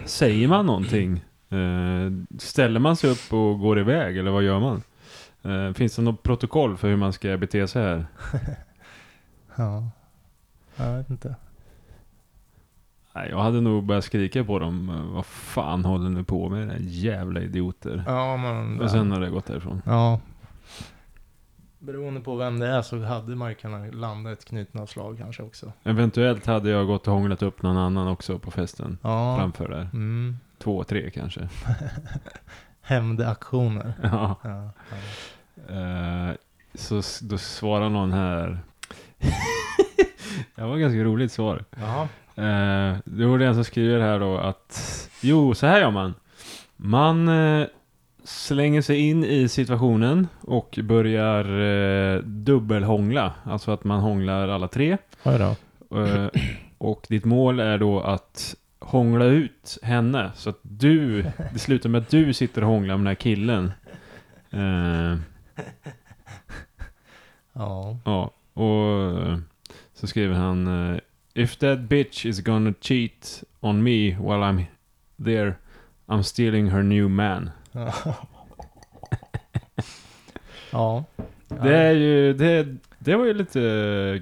[SPEAKER 2] Säger man någonting? Eh, ställer man sig upp och går iväg eller vad gör man? Eh, finns det något protokoll för hur man ska bete sig här?
[SPEAKER 1] Ja. Jag vet inte.
[SPEAKER 2] Nej, jag hade nog börjat skrika på dem. eh, Vad fan håller ni på med? Era jävla idioter.
[SPEAKER 1] Ja, men...
[SPEAKER 2] Och sen har det gått därifrån.
[SPEAKER 1] Ja. Beroende på vem det är så hade man ju kunnat landa ett knytnävsslag kanske också.
[SPEAKER 2] Eventuellt hade jag gått och hånglat upp någon annan också på festen.
[SPEAKER 1] Ja.
[SPEAKER 2] Framför där.
[SPEAKER 1] Mm.
[SPEAKER 2] Två, tre kanske.
[SPEAKER 1] Hämndaktioner.
[SPEAKER 2] Ja.
[SPEAKER 1] Ja, ja.
[SPEAKER 2] Eh, så s- då svarar någon här. det var ett ganska roligt svar.
[SPEAKER 1] Jaha.
[SPEAKER 2] Eh, det var den som skriver här då att Jo, så här gör man. Man eh, slänger sig in i situationen och börjar eh, dubbelhångla. Alltså att man hånglar alla tre.
[SPEAKER 1] Oj då.
[SPEAKER 2] Eh, och ditt mål är då att hångla ut henne. Så att du, det slutar med att du sitter och hånglar med den här killen. Eh,
[SPEAKER 1] Ja.
[SPEAKER 2] Ja, och eh, så skriver han eh, If that bitch is gonna cheat on me while I'm there I'm stealing her new man.
[SPEAKER 1] ja.
[SPEAKER 2] Det, är ju, det, det var ju lite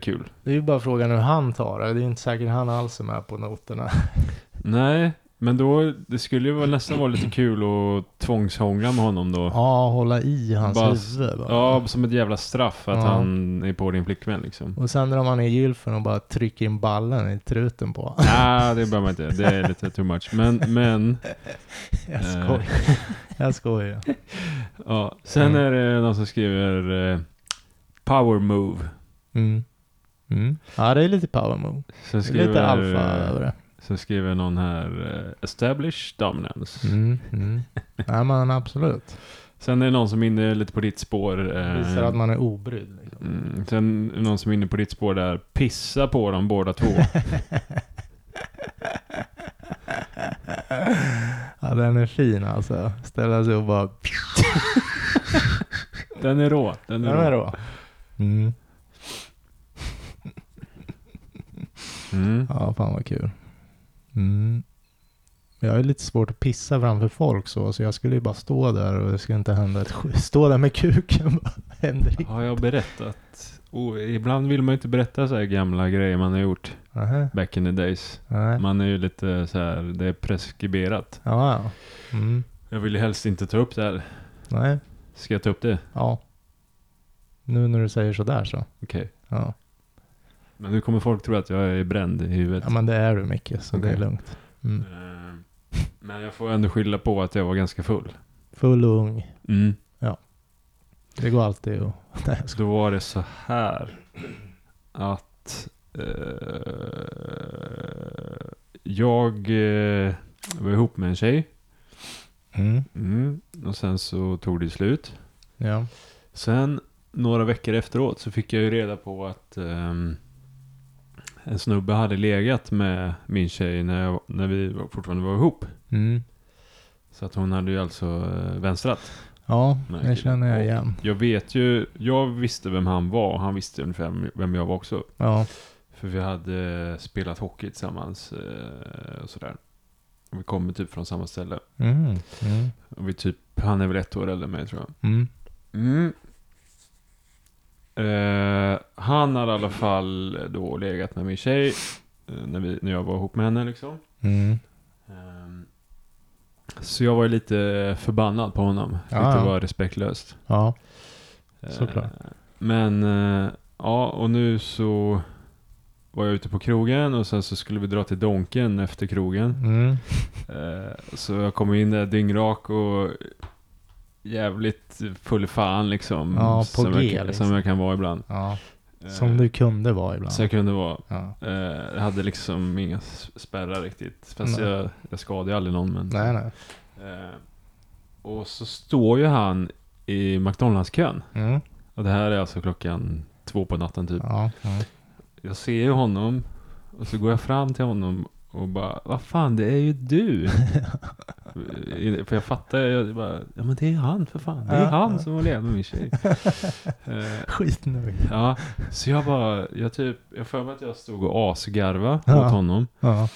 [SPEAKER 2] kul.
[SPEAKER 1] Det är ju bara frågan hur han tar det. Det är ju inte säkert han alls är med på noterna.
[SPEAKER 2] Nej, men då, det skulle ju vara- nästan vara lite kul att tvångshångla med honom då.
[SPEAKER 1] Ja, hålla i hans
[SPEAKER 2] Bara-
[SPEAKER 1] huvud bara.
[SPEAKER 2] Ja, som ett jävla straff att
[SPEAKER 1] Ja.
[SPEAKER 2] han är på din flickvän liksom.
[SPEAKER 1] Och sen drar man ner gylfen och bara trycker in ballen i truten på honom.
[SPEAKER 2] Nej, det behöver man inte. Det är lite too much. Men, men
[SPEAKER 1] Jag
[SPEAKER 2] Eh.
[SPEAKER 1] skojar. Jag skojar.
[SPEAKER 2] ja. Sen
[SPEAKER 1] Mm.
[SPEAKER 2] är det någon som skriver eh, Power move.
[SPEAKER 1] Mm. Mm. Ja, det är lite power move.
[SPEAKER 2] Sen
[SPEAKER 1] Det är
[SPEAKER 2] skriver, eh,
[SPEAKER 1] lite alfa över det.
[SPEAKER 2] Sen skriver någon här eh, Establish dominance.
[SPEAKER 1] Mm, mm. Nej men absolut.
[SPEAKER 2] Sen är det någon som är inne lite på ditt spår. eh,
[SPEAKER 1] Visar att man är obrydd. Liksom.
[SPEAKER 2] mm, sen är det någon som är inne på ditt spår där. Pissa på dem båda två.
[SPEAKER 1] ja, Ja, den är fin alltså. Ställa sig och bara...
[SPEAKER 2] Den är rå. Den är
[SPEAKER 1] Den är
[SPEAKER 2] rå.
[SPEAKER 1] rå. Mm.
[SPEAKER 2] Mm.
[SPEAKER 1] Ja, fan vad kul. Mm. Jag är lite svårt att pissa framför folk så, så jag skulle ju bara stå där och det skulle inte hända ett skit. Stå där med kuken bara. Händer inget.
[SPEAKER 2] Har jag berättat? Oh, ibland vill man ju inte berätta så här gamla grejer man har gjort
[SPEAKER 1] Nähä,
[SPEAKER 2] back in the days.
[SPEAKER 1] Nej.
[SPEAKER 2] Man är ju lite så här, det är preskriberat.
[SPEAKER 1] Ja, ja. Mm.
[SPEAKER 2] Jag vill ju helst inte ta upp det här.
[SPEAKER 1] Nej.
[SPEAKER 2] Ska jag ta upp det?
[SPEAKER 1] Ja. Nu när du säger sådär så.
[SPEAKER 2] Okej.
[SPEAKER 1] Ja.
[SPEAKER 2] Men nu kommer folk tro att jag är bränd i huvudet.
[SPEAKER 1] ja, men det är du Micke, så det är
[SPEAKER 2] Okej.
[SPEAKER 1] lugnt. Mm.
[SPEAKER 2] Eh, Men jag får ändå skylla på att jag var ganska full.
[SPEAKER 1] Full och ung.
[SPEAKER 2] Mm.
[SPEAKER 1] Det går alltid att... Nej, jag
[SPEAKER 2] Så då var det så här att eh, jag eh, var ihop med en tjej.
[SPEAKER 1] skojar. mm.
[SPEAKER 2] Mm. Och sen så tog det slut.
[SPEAKER 1] Ja.
[SPEAKER 2] Sen några veckor efteråt så fick jag ju reda på att ehm, en snubbe hade legat med min tjej när, jag, när vi var- fortfarande var ihop.
[SPEAKER 1] Mm.
[SPEAKER 2] Så att hon hade ju alltså eh, vänstrat.
[SPEAKER 1] Ja,
[SPEAKER 2] Nej,
[SPEAKER 1] det
[SPEAKER 2] kul.
[SPEAKER 1] känner jag
[SPEAKER 2] Och-
[SPEAKER 1] igen.
[SPEAKER 2] Jag vet ju, jag visste vem han var och han visste ungefär vem jag var också.
[SPEAKER 1] Ja.
[SPEAKER 2] För vi hade eh, spelat hockey tillsammans eh, och sådär. Och Vi kommer typ från samma ställe.
[SPEAKER 1] Mm. Mm.
[SPEAKER 2] Och vi typ, han är väl ett år äldre än mig tror jag.
[SPEAKER 1] Mm.
[SPEAKER 2] Mm. Eh, han hade i alla fall då legat med min tjej. eh, När, vi, när jag var ihop med henne liksom.
[SPEAKER 1] Mm.
[SPEAKER 2] Ehm, så jag var ju lite förbannad på honom.
[SPEAKER 1] Ja,
[SPEAKER 2] lite
[SPEAKER 1] ja.
[SPEAKER 2] var respektlöst.
[SPEAKER 1] Ja.
[SPEAKER 2] Eh,
[SPEAKER 1] Såklart.
[SPEAKER 2] Men, eh, ja och nu så var jag ute på krogen och sen så skulle vi dra till Donken efter krogen.
[SPEAKER 1] Mm.
[SPEAKER 2] Eh, Så jag kom in där dyngrak och jävligt full fan liksom.
[SPEAKER 1] Ja, på
[SPEAKER 2] som,
[SPEAKER 1] G,
[SPEAKER 2] jag,
[SPEAKER 1] liksom.
[SPEAKER 2] som jag kan vara ibland.
[SPEAKER 1] Ja.
[SPEAKER 2] Eh,
[SPEAKER 1] Som du kunde vara ibland.
[SPEAKER 2] Så jag kunde vara.
[SPEAKER 1] Ja.
[SPEAKER 2] Eh, Jag hade liksom inga s- spärrar riktigt. Fast
[SPEAKER 1] Nej.
[SPEAKER 2] jag, jag skadade ju aldrig någon. Men,
[SPEAKER 1] Nej, nej.
[SPEAKER 2] Eh, Och så står ju han i McDonalds-kön.
[SPEAKER 1] Mm.
[SPEAKER 2] Och det här är alltså klockan två på natten typ.
[SPEAKER 1] Ja. Mm.
[SPEAKER 2] Jag ser ju honom och så går jag fram till honom och bara Vad fan det är ju du! I- för jag fattar jag bara Ja men det är han för fan! Det är
[SPEAKER 1] Ja,
[SPEAKER 2] han
[SPEAKER 1] ja.
[SPEAKER 2] som har levt med min tjej! Eh,
[SPEAKER 1] Skitnöjd.
[SPEAKER 2] ja, så jag bara Jag typ Jag för mig att jag stod och asgarva
[SPEAKER 1] Ja.
[SPEAKER 2] åt honom
[SPEAKER 1] Ja.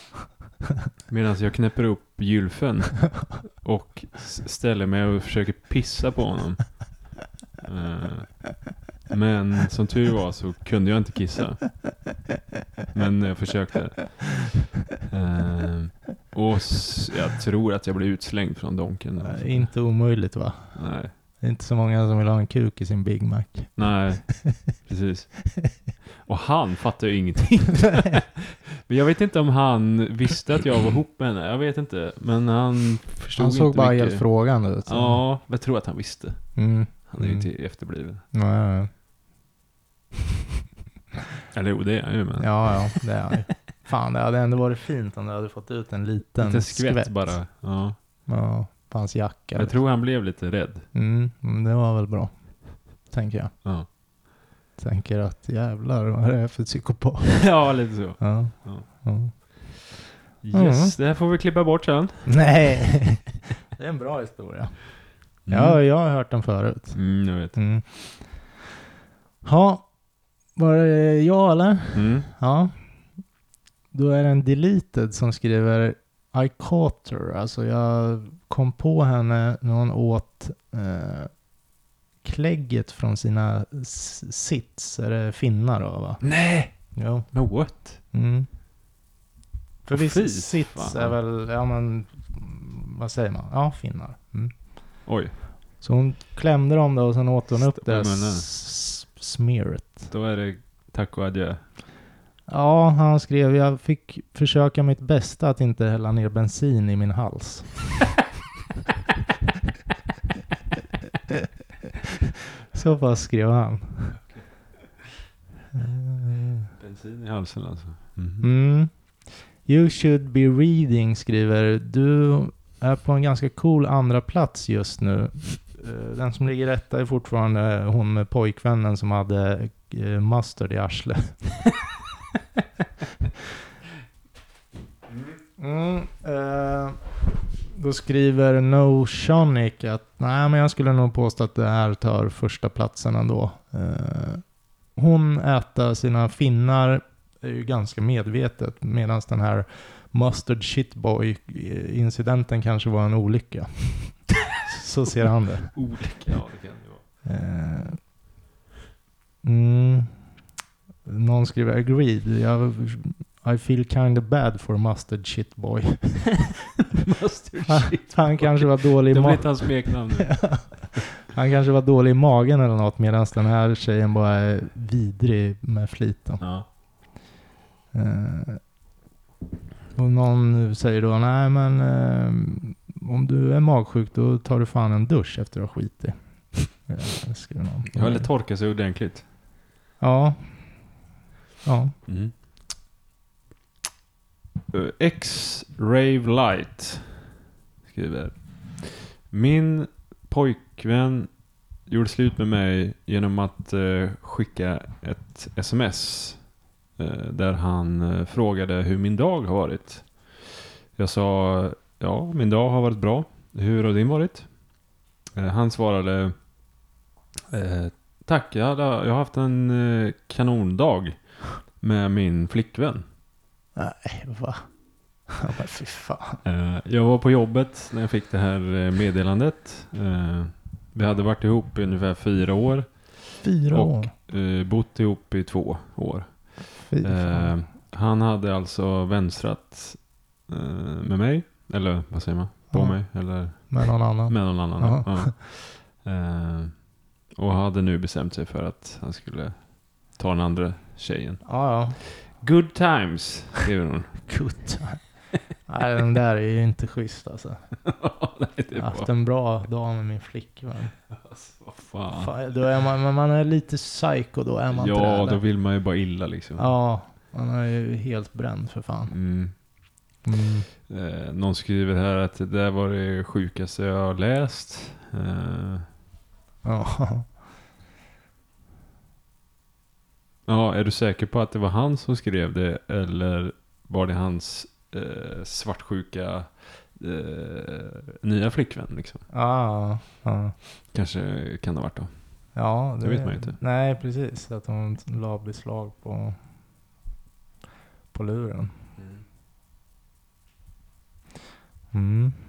[SPEAKER 2] Medan jag knäpper upp gylfen och s- ställer mig och försöker pissa på honom Eh, Men som tur var så kunde jag inte kissa Men jag försökte Eh, Och s- jag tror att jag blev utslängd från Donken
[SPEAKER 1] Nej, Inte omöjligt va?
[SPEAKER 2] Nej,
[SPEAKER 1] Det är inte så många som vill ha en kuk i sin Big Mac.
[SPEAKER 2] nej, precis Och han fattade ju ingenting Men jag vet inte om han visste att jag var ihop med henne Jag vet inte, men han förstod
[SPEAKER 1] Han såg
[SPEAKER 2] inte
[SPEAKER 1] bara
[SPEAKER 2] mycket.
[SPEAKER 1] helt frågande ut. så.
[SPEAKER 2] Ja, men jag tror att han visste.
[SPEAKER 1] Mm.
[SPEAKER 2] Han är ju
[SPEAKER 1] Mm.
[SPEAKER 2] inte efterbliven.
[SPEAKER 1] Nej, nej.
[SPEAKER 2] Eller jo, det är han ju men.
[SPEAKER 1] Ja, ja, det är han ju. Fan, det hade ändå varit fint om du hade fått ut en liten
[SPEAKER 2] Lite skvätt, bara. Ja.
[SPEAKER 1] Ja, på hans jacka.
[SPEAKER 2] Jag tror han blev lite rädd.
[SPEAKER 1] Mm, men det var väl bra, tänker jag.
[SPEAKER 2] Ja,
[SPEAKER 1] Tänker att jävlar, vad är det här för psykopat?
[SPEAKER 2] ja lite så.
[SPEAKER 1] Ja.
[SPEAKER 2] Ja.
[SPEAKER 1] Ja.
[SPEAKER 2] Yes, det här får vi klippa bort sen.
[SPEAKER 1] Nej, det är en bra historia. Ja, jag har hört den förut.
[SPEAKER 2] Mm, jag vet.
[SPEAKER 1] Mm. Ja, var det jag eller?
[SPEAKER 2] Mm.
[SPEAKER 1] Ja. Då är det en deleted som skriver I caught her. Alltså jag kom på henne när hon åt eh, klägget från sina s- sits. Är det finnar då va?
[SPEAKER 2] Nej!
[SPEAKER 1] Jo.
[SPEAKER 2] Men what?
[SPEAKER 1] Mm. För
[SPEAKER 2] Åh, fy
[SPEAKER 1] visst, sits
[SPEAKER 2] fan.
[SPEAKER 1] är väl, ja men, mm, vad säger man? Ja, finnar. Mm.
[SPEAKER 2] Oj,
[SPEAKER 1] Så hon klämde dem då och sen åt hon upp
[SPEAKER 2] Stoppar
[SPEAKER 1] det
[SPEAKER 2] munnen.
[SPEAKER 1] s- smearet.
[SPEAKER 2] då är det tack och adjö.
[SPEAKER 1] Ja, han skrev jag fick försöka mitt bästa att inte hälla ner bensin i min hals. Så bara skrev han. Eh.
[SPEAKER 2] Bensin i halsen alltså. Mhm.
[SPEAKER 1] Mm. You should be reading skriver du är på en ganska cool andra plats just nu. Eh, Den som ligger rätta är fortfarande hon med pojkvännen som hade eh, mustard i arslet. Mm, eh, Då skriver No Shonic att nej, men jag skulle nog påstå att det här tar första platsen ändå. Eh, hon äter sina finnar är ju ganska medvetet medan den här Mustard Shitboy incidenten kanske var en olycka. Så ser han det.
[SPEAKER 2] Olika, ja det kan det vara.
[SPEAKER 1] Eh, mm. Någon skriver agreed. Jag, I feel kinda bad for mustard shit boy.
[SPEAKER 2] Mustard shit.
[SPEAKER 1] Han kanske var dålig i
[SPEAKER 2] Det blir
[SPEAKER 1] ma-
[SPEAKER 2] inte hans smeknamn nu.
[SPEAKER 1] han kanske var dålig i magen eller något medan den här tjejen bara är vidrig med flit. Då.
[SPEAKER 2] Ja.
[SPEAKER 1] Eh, och någon säger då, nej men eh, om du är magsjuk då tar du fan en dusch efter att ha skitit. Eh, skriver någon.
[SPEAKER 2] Ja, eller torka sig ordentligt.
[SPEAKER 1] Ja. Ja.
[SPEAKER 2] Mm. Eh, X-Rave Light skriver. Min pojkvän gjorde slut med mig genom att eh, skicka ett sms. Eh, där han eh, frågade hur min dag har varit. Jag sa, ja min dag har varit bra. Hur har din varit? Eh, han svarade, eh, tack jag, hade, jag har haft en eh, kanondag med min flickvän.
[SPEAKER 1] Nej, va? Ja, men fy fan.
[SPEAKER 2] Eh, Jag var på jobbet när jag fick det här eh, meddelandet. Eh, Vi hade varit ihop i ungefär fyra år.
[SPEAKER 1] Fyra
[SPEAKER 2] Och-
[SPEAKER 1] år.
[SPEAKER 2] eh, Bott ihop i två år.
[SPEAKER 1] Fy fan.
[SPEAKER 2] Eh, Han hade alltså vänstrat eh, med mig. Eller vad säger man? På
[SPEAKER 1] Ja.
[SPEAKER 2] mig? Eller
[SPEAKER 1] Med någon annan.
[SPEAKER 2] med någon annan.
[SPEAKER 1] Ja.
[SPEAKER 2] Ja. Eh, Och hade nu bestämt sig för att han skulle ta den andra tjejen.
[SPEAKER 1] Ja, ja.
[SPEAKER 2] Good times, skriver hon.
[SPEAKER 1] Kutt. Nej, den där är ju inte schysst alltså.
[SPEAKER 2] Nej, det
[SPEAKER 1] Jag
[SPEAKER 2] är
[SPEAKER 1] har haft
[SPEAKER 2] bra.
[SPEAKER 1] en bra dag med min flickvän.
[SPEAKER 2] Alltså, vad fan.
[SPEAKER 1] Fan, då är man, men man är lite psycho då, är man inte det?
[SPEAKER 2] Ja,
[SPEAKER 1] eller?
[SPEAKER 2] då vill man ju bara illa liksom.
[SPEAKER 1] Ja, man är ju helt bränd för fan.
[SPEAKER 2] Mm. Eh, någon skriver här att det där var det sjukaste jag har läst. Eh,
[SPEAKER 1] Ja.
[SPEAKER 2] ja, är du säker på att det var han som skrev det? Eller var det hans eh, svartsjuka eh, nya flickvän? Liksom?
[SPEAKER 1] Ja, Ah, ja.
[SPEAKER 2] Kanske kan det ha varit då.
[SPEAKER 1] ja
[SPEAKER 2] Det vet man ju inte.
[SPEAKER 1] Nej, precis. Att hon la beslag på, på luren. Mm.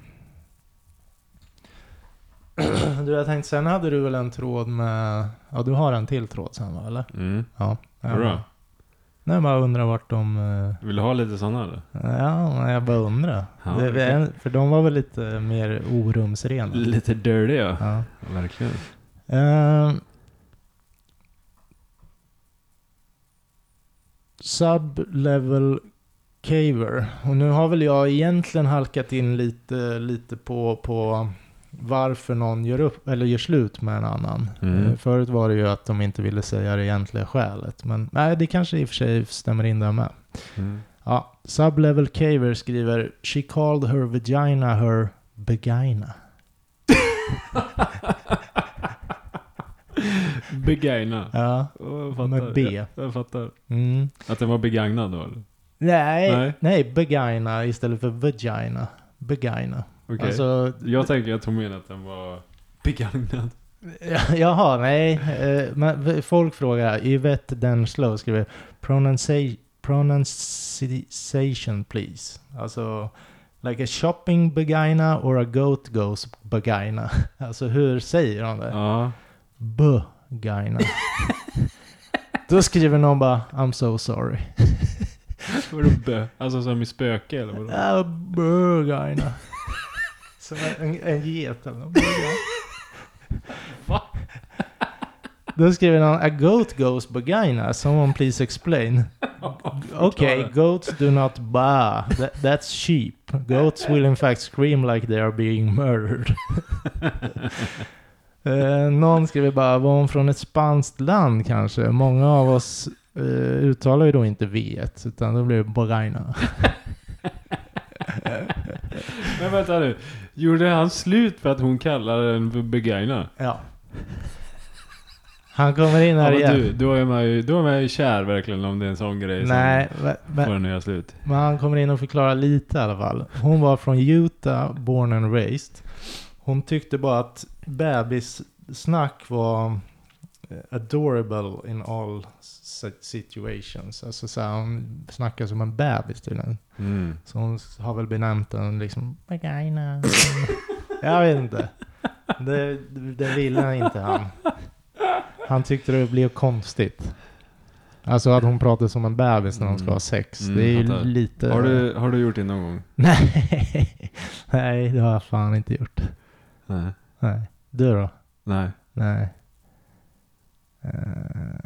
[SPEAKER 1] Du, jag tänkte, sen hade du väl en tråd med... Ja, du har en till tråd sen va, eller?
[SPEAKER 2] Mm.
[SPEAKER 1] Ja.
[SPEAKER 2] Bra.
[SPEAKER 1] Nej, jag bara undrar vart de... eh,
[SPEAKER 2] Vill du ha lite sådana eller?
[SPEAKER 1] Ja, nej, jag bara undrar.
[SPEAKER 2] Ja,
[SPEAKER 1] det, det är- För de var väl lite mer orumsrena?
[SPEAKER 2] Lite dirty ja.
[SPEAKER 1] Ja.
[SPEAKER 2] Verkligen.
[SPEAKER 1] Ehm. Sublevel Caver. Och nu har väl jag egentligen halkat in lite, lite på, på varför någon gör upp eller gör slut med en annan.
[SPEAKER 2] Mm.
[SPEAKER 1] Eh, Förut var det ju att de inte ville säga det egentliga skälet. Men nej, det kanske i och för sig stämmer in där med.
[SPEAKER 2] Mm.
[SPEAKER 1] Ja, Sublevel Caver skriver She called her vagina her begina.
[SPEAKER 2] Begagna.
[SPEAKER 1] Ja,
[SPEAKER 2] Oh, jag fattar.
[SPEAKER 1] Med B.
[SPEAKER 2] Jag, jag fattar.
[SPEAKER 1] mm.
[SPEAKER 2] Att den var begagnad då eller?
[SPEAKER 1] Nej,
[SPEAKER 2] Nej.
[SPEAKER 1] nej. begina istället för vagina. Begina.
[SPEAKER 2] Okej.
[SPEAKER 1] Alltså,
[SPEAKER 2] Jag tänker att hon menar att den var begagnad.
[SPEAKER 1] jaha, nej. eh, Men v- folk frågar, Yvette Denslow skriver "Pronunci- pronunciation please. Alltså, like a shopping begina or a goat goes begina. Alltså hur säger de det?
[SPEAKER 2] Ja.
[SPEAKER 1] Begina. Då skriver någon bara, I'm so sorry.
[SPEAKER 2] Vadå bö? Alltså som i spöke eller vadå?
[SPEAKER 1] Ja, Burgaina. Som en, en get eller något. Burgaina. Då skriver någon A goat goes Burgaina. Someone please explain. Okay, goats do not ba. That, that's sheep. Goats will in fact scream like they are being murdered. Eh, någon skriver bara, var hon från ett spanskt land kanske? Många av oss eh, uttalar ju då inte V1, utan då blir det Burgaina.
[SPEAKER 2] Men vänta nu. Gjorde han slut för att hon kallar den för begagnad?
[SPEAKER 1] Ja. Han kommer in
[SPEAKER 2] Ja,
[SPEAKER 1] här
[SPEAKER 2] men
[SPEAKER 1] igen.
[SPEAKER 2] du, då är man ju, då är man ju kär verkligen om det är en sån grej
[SPEAKER 1] Nej, men,
[SPEAKER 2] som
[SPEAKER 1] men,
[SPEAKER 2] får en att göra slut.
[SPEAKER 1] men han kommer in och förklarar lite i alla fall. Hon var från Utah, born and raised. Hon tyckte bara att bebissnack var eh, adorable in all si- situations. Alltså så här, hon snackar som en bebis tydligen.
[SPEAKER 2] Mm.
[SPEAKER 1] Så hon har väl benämnt den liksom vagina. Jag vet inte. Det, det ville inte han. Han tyckte det blev konstigt. Alltså att hon pratar som en bebis när hon ska ha sex.
[SPEAKER 2] Mm,
[SPEAKER 1] det är ju
[SPEAKER 2] fattar.
[SPEAKER 1] lite...
[SPEAKER 2] Har, du, har du gjort det någon gång?
[SPEAKER 1] Nej. Nej, det har jag fan inte gjort.
[SPEAKER 2] Nej.
[SPEAKER 1] Nej. Du då?
[SPEAKER 2] Nej.
[SPEAKER 1] Nej. Eh.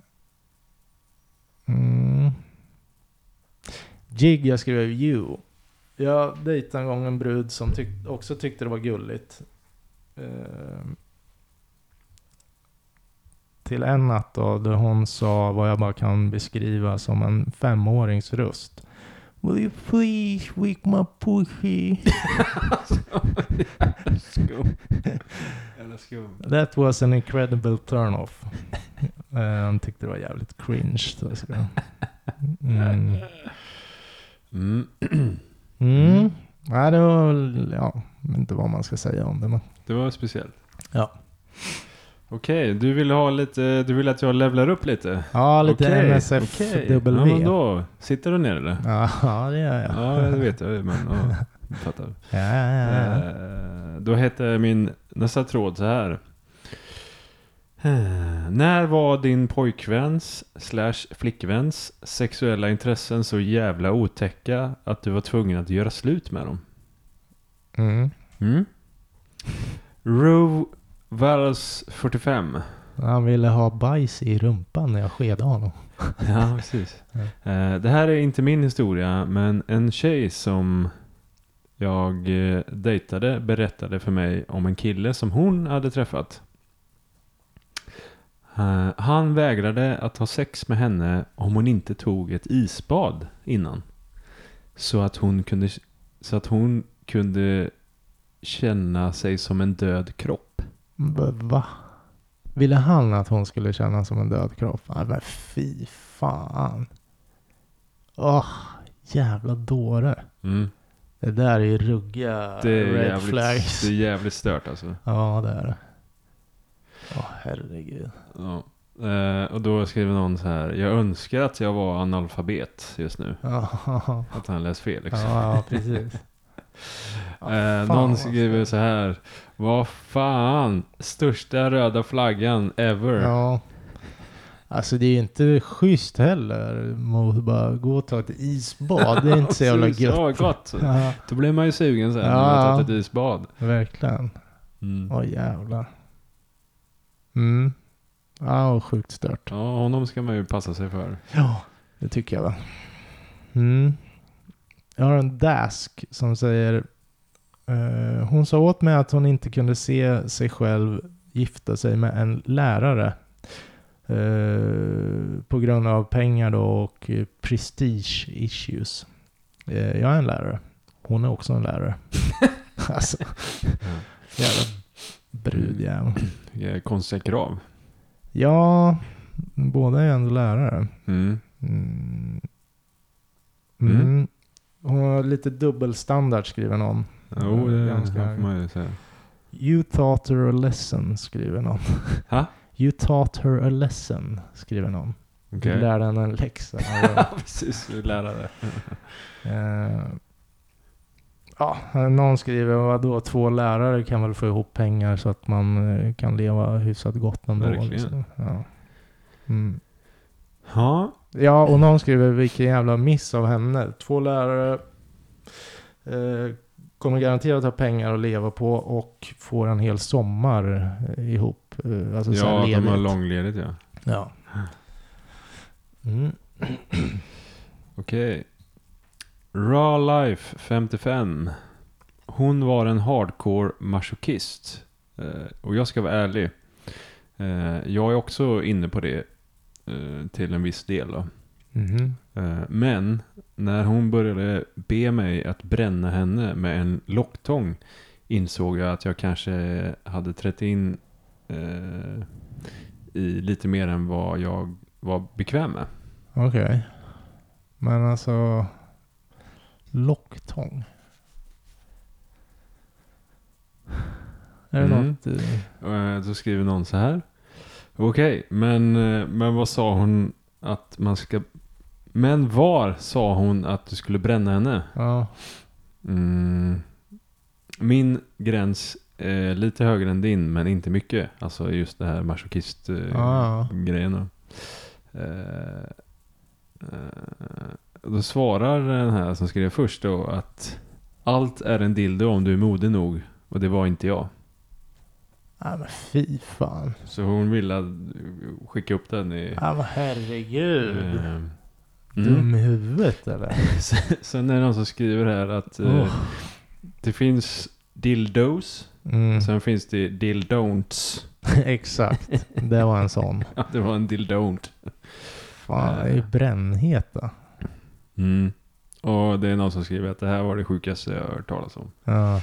[SPEAKER 1] Mm. Jig, jag skrev you. Jag dejtade en gång en brud som tyck- också tyckte det var gulligt. Eh. Till en natt då, där hon sa vad jag bara kan beskriva som en femårings röst. Will you please lick my pussy?
[SPEAKER 2] Skum. Eller skum.
[SPEAKER 1] That was an incredible turn-off. Eh, Han tyckte det var jävligt cringe. då, så. Mm.
[SPEAKER 2] Mm.
[SPEAKER 1] Mm. Nej, det var väl, ja, jag vet inte vad man ska säga om det. Men.
[SPEAKER 2] Det var speciellt.
[SPEAKER 1] Ja.
[SPEAKER 2] Okej, du vill ha lite, du vill att jag levlar upp lite?
[SPEAKER 1] Ja, lite
[SPEAKER 2] Okej, okej.
[SPEAKER 1] NSFW.
[SPEAKER 2] Ja, men då. Sitter du ner eller?
[SPEAKER 1] Ja, ja, det gör jag.
[SPEAKER 2] Ja, det vet jag ju, men ja, jag fattar.
[SPEAKER 1] Ja, ja, ja.
[SPEAKER 2] Eh, Då hette min nästa tråd så här. Eh, När var din pojkväns slash flickväns sexuella intressen så jävla otäcka att du var tvungen att göra slut med dem?
[SPEAKER 1] Mm.
[SPEAKER 2] Mm? Rove Vals 45.
[SPEAKER 1] Han ville ha bajs i rumpan när jag skedade honom.
[SPEAKER 2] Ja, precis. Eh, Det här är inte min historia, men en tjej som jag eh, dejtade berättade för mig om en kille som hon hade träffat. Eh, Han vägrade att ha sex med henne om hon inte tog ett isbad innan. Så att hon kunde, så att hon kunde känna sig som en död kropp.
[SPEAKER 1] B- Va? Ville han att hon skulle känna som en död kropp? Nej, men fy fan. Åh, jävla dåre. Det där är ju ruggiga
[SPEAKER 2] Mm. Det, är
[SPEAKER 1] red
[SPEAKER 2] jävligt,
[SPEAKER 1] flags.
[SPEAKER 2] det är jävligt stört alltså.
[SPEAKER 1] Ja, det är det. Åh, herregud.
[SPEAKER 2] Ja. Eh, och då skriver någon så här. Jag önskar att jag var analfabet just nu.
[SPEAKER 1] Ja,
[SPEAKER 2] Att han läst fel. Liksom.
[SPEAKER 1] ja precis. Ja,
[SPEAKER 2] Eh,
[SPEAKER 1] fan,
[SPEAKER 2] någon
[SPEAKER 1] alltså.
[SPEAKER 2] skriver så här. Vad fan. Största röda flaggan ever.
[SPEAKER 1] Ja. Alltså det är ju inte schysst heller. Mot bara gå och ta ett isbad. Det är inte så jävla
[SPEAKER 2] Precis,
[SPEAKER 1] gött.
[SPEAKER 2] Ja, gott.
[SPEAKER 1] Ja,
[SPEAKER 2] Då blir man ju sugen sen när
[SPEAKER 1] Ja.
[SPEAKER 2] man har tagit ett isbad.
[SPEAKER 1] verkligen.
[SPEAKER 2] Mm.
[SPEAKER 1] Åh jävlar. Mm. Ja, och sjukt stört.
[SPEAKER 2] Ja, honom ska man ju passa sig för.
[SPEAKER 1] Ja, det tycker jag väl. Mm. Jag har en dask som säger eh, Hon sa åt mig att hon inte kunde se sig själv gifta sig med en lärare. eh, på grund av pengar då och eh, prestige issues. Eh, jag är en lärare. Hon är också en lärare. alltså, jävla brudjävel.
[SPEAKER 2] Vilka Eh, konstiga krav.
[SPEAKER 1] Ja, båda är ju ändå lärare.
[SPEAKER 2] Mm.
[SPEAKER 1] Mm.
[SPEAKER 2] Mm.
[SPEAKER 1] Mm. Hon har lite dubbelstandard skriver någon.
[SPEAKER 2] Jo, det
[SPEAKER 1] Ganska-
[SPEAKER 2] får man ju säga.
[SPEAKER 1] You taught her a lesson skriver någon.
[SPEAKER 2] Ha?
[SPEAKER 1] You taught her a lesson skriver någon.
[SPEAKER 2] Okej.
[SPEAKER 1] Du lärde henne en läxa. Alltså,
[SPEAKER 2] Precis, lärare.
[SPEAKER 1] eh, ja, någon skriver vadå, två lärare kan väl få ihop pengar så att man eh, kan leva hyfsat gott ändå.
[SPEAKER 2] Verkligen.
[SPEAKER 1] liksom. Ja. Mm.
[SPEAKER 2] Ja.
[SPEAKER 1] Ja, och någon skriver vilken jävla miss av henne. Två lärare eh, kommer garanterat ha pengar att leva på och får en hel sommar eh, ihop. Eh, alltså så här
[SPEAKER 2] Ja, de har
[SPEAKER 1] ledigt.
[SPEAKER 2] långledigt ja.
[SPEAKER 1] Ja. Mm.
[SPEAKER 2] Okej. Raw Life 55. Hon var en hardcore masochist. Eh, och jag ska vara ärlig. Eh, jag är också inne på det eh, till en viss del. Då.
[SPEAKER 1] Mhm.
[SPEAKER 2] Eh, men när hon började be mig att bränna henne med en locktång insåg jag att jag kanske hade trätt in eh, i lite mer än vad jag var bekväm med.
[SPEAKER 1] Okej. Men alltså... Locktång. Är det
[SPEAKER 2] Mm.
[SPEAKER 1] något... eh,
[SPEAKER 2] Eh, Då skriver någon så här. Okej, men, eh, men vad sa hon att man ska... Men var sa hon att du skulle bränna henne?
[SPEAKER 1] Ja.
[SPEAKER 2] Mm. Min gräns är lite högre än din, men inte mycket. Alltså just det här
[SPEAKER 1] Ja.
[SPEAKER 2] masochist-grejen. då. Eh, eh, då svarar den här som skrev först då att allt är en dildo om du är modig nog. Och det var inte jag.
[SPEAKER 1] Nej men fy fan.
[SPEAKER 2] Så hon ville att- eh, skicka upp den i...
[SPEAKER 1] Ja men herregud.
[SPEAKER 2] eh, mm.
[SPEAKER 1] Ah, Dum i huvudet eller?
[SPEAKER 2] Sen- Sen är det någon som skriver här att eh,
[SPEAKER 1] Åh.
[SPEAKER 2] det finns dildos.
[SPEAKER 1] Mm.
[SPEAKER 2] Sen finns det dildon'ts.
[SPEAKER 1] Exakt. Det var en sån.
[SPEAKER 2] Ja, det var en dildont.
[SPEAKER 1] Fan, det är ju brännheta.
[SPEAKER 2] Mm. Och det är någon som skriver att det här var det sjukaste jag har hört talas om.
[SPEAKER 1] Ja.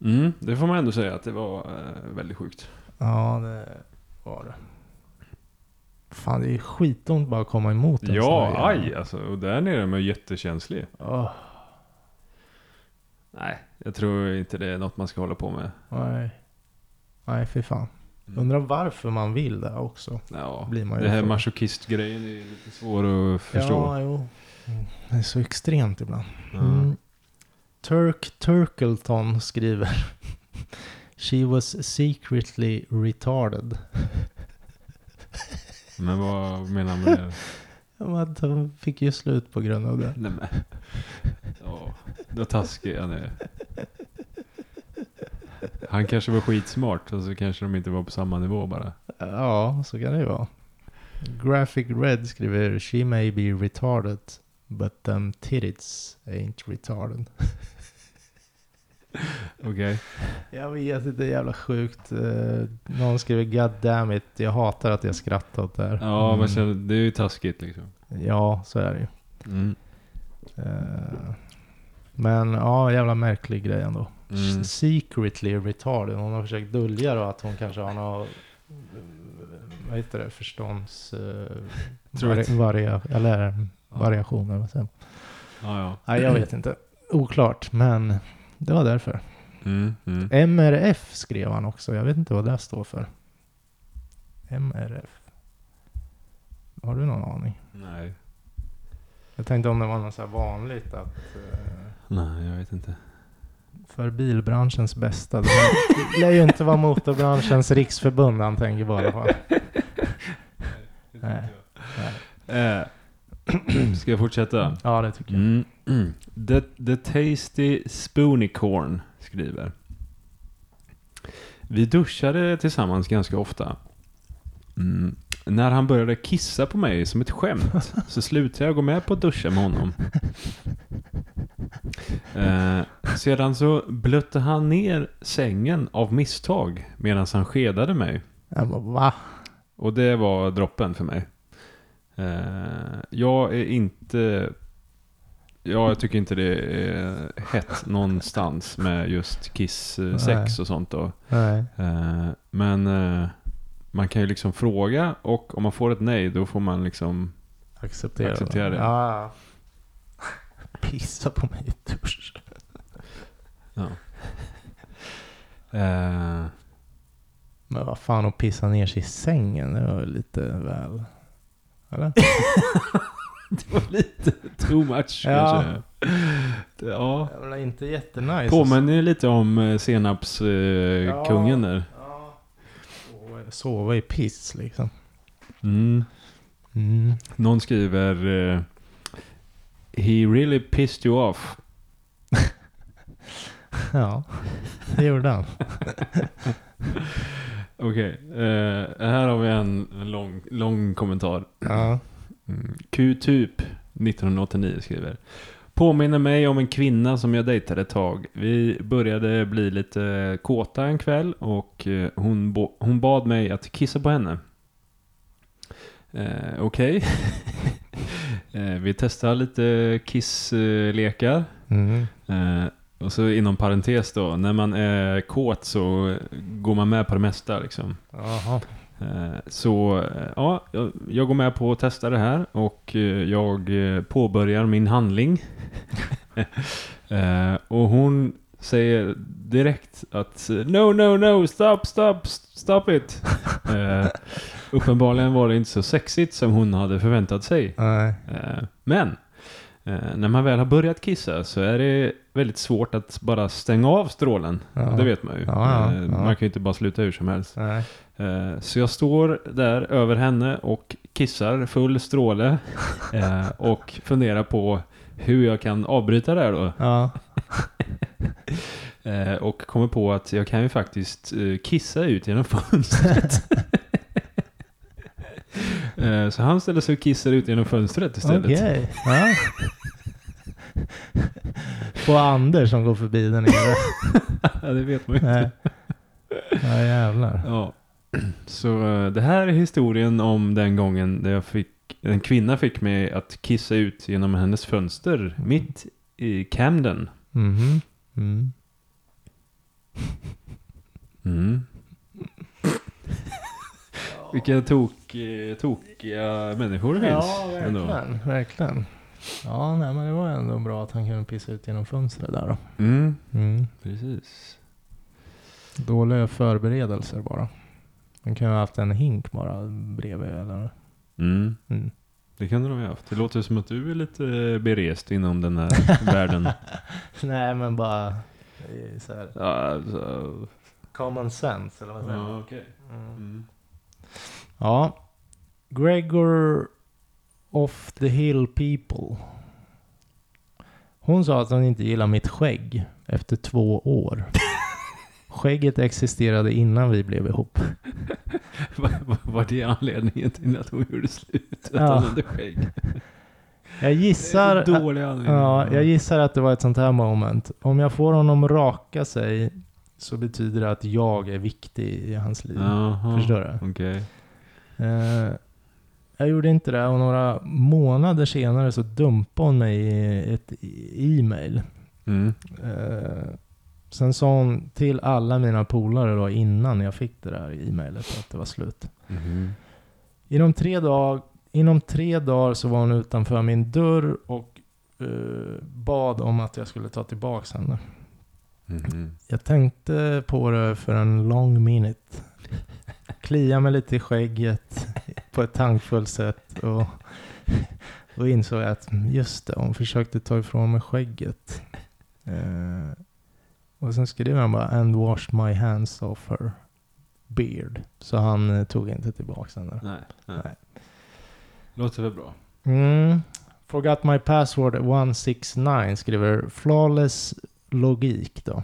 [SPEAKER 2] Mm, det får man ändå säga att det var eh, väldigt sjukt.
[SPEAKER 1] Ja, det var det. Fan, det är ju skitont bara att komma emot en
[SPEAKER 2] Ja,
[SPEAKER 1] sån här
[SPEAKER 2] aj
[SPEAKER 1] jävel.
[SPEAKER 2] alltså. Och där nere är man ju jättekänslig.
[SPEAKER 1] Åh,
[SPEAKER 2] Nej, jag tror inte det är något man ska hålla på med.
[SPEAKER 1] nej. Nej, fy fan.
[SPEAKER 2] Mm.
[SPEAKER 1] Undrar varför man vill det också.
[SPEAKER 2] Ja,
[SPEAKER 1] Blir man ju
[SPEAKER 2] det här
[SPEAKER 1] för-
[SPEAKER 2] masochist-grejen är lite svår att förstå.
[SPEAKER 1] Ja, jo. Mm. Det är så extremt ibland.
[SPEAKER 2] Ja.
[SPEAKER 1] Mm. Turk Turkleton skriver. She was secretly retarded.
[SPEAKER 2] Men vad menar man med det?
[SPEAKER 1] Ja, men De fick ju slut på grund av det.
[SPEAKER 2] Nej men. Ja, vad taskig han är. Han kanske var skitsmart och så kanske de inte var på samma nivå bara.
[SPEAKER 1] Ja, så kan det ju vara. Graphic Red skriver She may be retarded but them titties ain't retarded.
[SPEAKER 2] Okej.
[SPEAKER 1] Jag vet inte, det är jävla sjukt. Eh, Någon skriver God damn it, jag hatar att jag skrattar åt det här.
[SPEAKER 2] Ja,
[SPEAKER 1] Mm.
[SPEAKER 2] men sen, det är ju taskigt liksom.
[SPEAKER 1] Ja, så är det ju.
[SPEAKER 2] Mm.
[SPEAKER 1] Eh, Men ja, jävla märklig grej ändå.
[SPEAKER 2] Mm.
[SPEAKER 1] Secretly retarded. Hon har försökt dölja då att hon kanske har något, eh, vad heter det, förstånds... eh,
[SPEAKER 2] Tror jag.
[SPEAKER 1] vari- varia, eller
[SPEAKER 2] Ja.
[SPEAKER 1] variationer. Vad säger man?
[SPEAKER 2] Ja, ja.
[SPEAKER 1] Nej, jag vet inte. Oklart, men det var därför.
[SPEAKER 2] Mm, mm.
[SPEAKER 1] Eh. MRF skrev han också. Jag vet inte vad det står för. MRF. Har du någon aning?
[SPEAKER 2] Nej.
[SPEAKER 1] Jag tänkte om det var något så här vanligt att... eh,
[SPEAKER 2] Nej, jag vet inte.
[SPEAKER 1] För bilbranschens bästa. Det lär ju inte vara motorbranschens riksförbund han tänker bara på. Nej.
[SPEAKER 2] Eh, ska jag fortsätta?
[SPEAKER 1] Ja, det tycker jag.
[SPEAKER 2] Mm. Mm. The, the Tasty Spoonicorn skriver. Vi duschade tillsammans ganska ofta. Mm. När han började kissa på mig som ett skämt så slutade jag gå med på att duscha med honom. Eh, sedan så blötte han ner sängen av misstag medan han skedade mig.
[SPEAKER 1] Jag bara, va?
[SPEAKER 2] Och det var droppen för mig. Eh, jag är inte... Ja, jag tycker inte det är hett någonstans med just kiss, eh, sex och sånt då.
[SPEAKER 1] Nej.
[SPEAKER 2] Eh, men eh, man kan ju liksom fråga och om man får ett nej då får man liksom...
[SPEAKER 1] Acceptera,
[SPEAKER 2] Acceptera det.
[SPEAKER 1] Ja. ja. Pissa på mig i duschen.
[SPEAKER 2] Eh,
[SPEAKER 1] Men vad fan, att pissa ner sig i sängen, det var ju lite väl... Eller?
[SPEAKER 2] det var lite too much
[SPEAKER 1] Ja.
[SPEAKER 2] kanske. Det- Ja.
[SPEAKER 1] Jag menar, inte jättenice.
[SPEAKER 2] Påminner ju lite om eh, senapskungen där.
[SPEAKER 1] Ja. Sova- Sova i piss liksom.
[SPEAKER 2] Mm.
[SPEAKER 1] Mm.
[SPEAKER 2] Någon skriver eh, He really pissed you off.
[SPEAKER 1] Ja, det gjorde han.
[SPEAKER 2] Okej, eh, här har vi en lång, lång kommentar.
[SPEAKER 1] Ja.
[SPEAKER 2] Mm. Q-typ 1989 skriver. Påminner mig om en kvinna som jag dejtade ett tag. Vi började bli lite kåta en kväll och eh, hon, bo- hon bad mig att kissa på henne. Eh, Okej. eh, vi testar lite kisslekar.
[SPEAKER 1] Mm.
[SPEAKER 2] Eh, och så inom parentes då, när man är kåt så går man med på det mesta liksom.
[SPEAKER 1] Jaha.
[SPEAKER 2] Eh, Så eh, ja, jag- jag går med på att testa det här och eh, jag eh, påbörjar min handling. Eh, och hon säger direkt att eh, No, no, no, stop, stop, stop it. Eh, uppenbarligen var det inte så sexigt som hon hade förväntat sig.
[SPEAKER 1] Nej.
[SPEAKER 2] Eh, Men eh, när man väl har börjat kissa så är det väldigt svårt att bara stänga av strålen.
[SPEAKER 1] Ja.
[SPEAKER 2] Det vet man ju.
[SPEAKER 1] Ja, ja,
[SPEAKER 2] Eh,
[SPEAKER 1] ja.
[SPEAKER 2] Man kan ju inte bara sluta hur som helst.
[SPEAKER 1] Nej.
[SPEAKER 2] Eh, Så jag står där över henne och kissar full stråle eh, och funderar på hur jag kan avbryta det här då.
[SPEAKER 1] Ja.
[SPEAKER 2] Eh, Och kommer på att jag kan ju faktiskt eh, kissa ut genom fönstret. Eh, Så han ställer sig och kissar ut genom fönstret istället.
[SPEAKER 1] Okej. Ja. På Anders som går förbi där nere.
[SPEAKER 2] Ja, det vet man ju.
[SPEAKER 1] Nej. Ja jävlar.
[SPEAKER 2] Ja. Så eh, det här är historien om den gången där jag fick, en kvinna fick mig att kissa ut genom hennes fönster mitt i Camden.
[SPEAKER 1] Mhm. Mm.
[SPEAKER 2] Mm. Vilka tok, eh, tokiga människor det finns.
[SPEAKER 1] Ja,
[SPEAKER 2] ändå.
[SPEAKER 1] verkligen. verkligen. Ja, nej, men det var ändå bra att han kunde pissa ut genom fönstret där då.
[SPEAKER 2] Mm,
[SPEAKER 1] Mm.
[SPEAKER 2] precis.
[SPEAKER 1] Dåliga förberedelser bara. Man kan ju ha haft en hink bara bredvid eller...
[SPEAKER 2] Mm.
[SPEAKER 1] Mm.
[SPEAKER 2] Det kan de ju ha haft. Det låter som att du är lite eh, berest inom den här världen.
[SPEAKER 1] Nej, men bara eh, så här,
[SPEAKER 2] Ja, så.
[SPEAKER 1] common sense eller vad säger man?
[SPEAKER 2] Ja, okej.
[SPEAKER 1] Mm.
[SPEAKER 2] Mm.
[SPEAKER 1] Ja. Gregor of the Hill People. Hon sa att hon inte gillar mitt skägg efter två år. Skägget existerade innan vi blev ihop.
[SPEAKER 2] Var, var- var det anledningen till att hon gjorde slut? Att
[SPEAKER 1] Ja.
[SPEAKER 2] hon hade skägg?
[SPEAKER 1] Jag gissar...
[SPEAKER 2] Det är en Dålig anledning.
[SPEAKER 1] Ja, jag gissar att det var ett sånt här moment. Om jag får honom raka sig så betyder det att jag är viktig i hans liv.
[SPEAKER 2] Jaha.
[SPEAKER 1] Förstår du?
[SPEAKER 2] Okej.
[SPEAKER 1] Eh, jag gjorde inte det och några månader senare så dumpade hon mig i ett e-mail.
[SPEAKER 2] Mm.
[SPEAKER 1] Eh, sen sa hon till alla mina polare då innan jag fick det där e-mailet att det var slut.
[SPEAKER 2] Mhm.
[SPEAKER 1] Inom tre, dag, inom tre dagar så var hon utanför min dörr och eh, bad om att jag skulle ta tillbaka henne.
[SPEAKER 2] Mhm.
[SPEAKER 1] Jag tänkte på det för en long minute. Klia mig lite i skägget på ett tankfullt sätt och, och insåg att mm, just det, hon försökte ta ifrån mig skägget. Eh, och sen skrev han bara and washed my hands off her beard. Så han eh, tog inte tillbaka den där.
[SPEAKER 2] Nej, nej.
[SPEAKER 1] Nej.
[SPEAKER 2] Låter väl bra.
[SPEAKER 1] Mm. Forgot my password 169 skriver flawless logik då.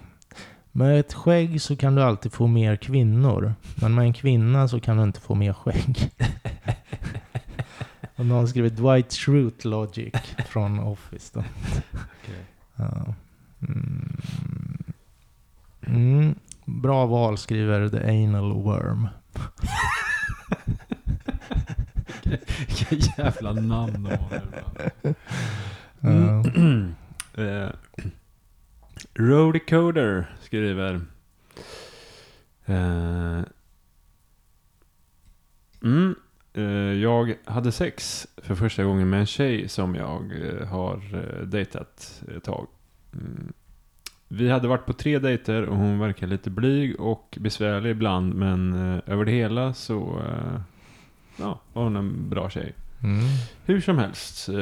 [SPEAKER 1] Med ett skägg så kan du alltid få mer kvinnor. Men med en kvinna så kan du inte få mer skägg. Och någon skriver Dwight Schrute logic från Office då.
[SPEAKER 2] Okej.
[SPEAKER 1] Ja. Mm. Mm. Bra val skriver The Anal Worm.
[SPEAKER 2] Vilka jävla namn de har.
[SPEAKER 1] Ja.
[SPEAKER 2] Eh, Rodecoder skriver. Eh, mm, eh, jag hade sex för första gången med en tjej som jag eh, har eh, dejtat ett tag. Mm. Vi hade varit på tre dejter och hon verkar lite blyg och besvärlig ibland men eh, över det hela så eh, ja, var hon en bra tjej.
[SPEAKER 1] Mm.
[SPEAKER 2] Hur som helst, eh,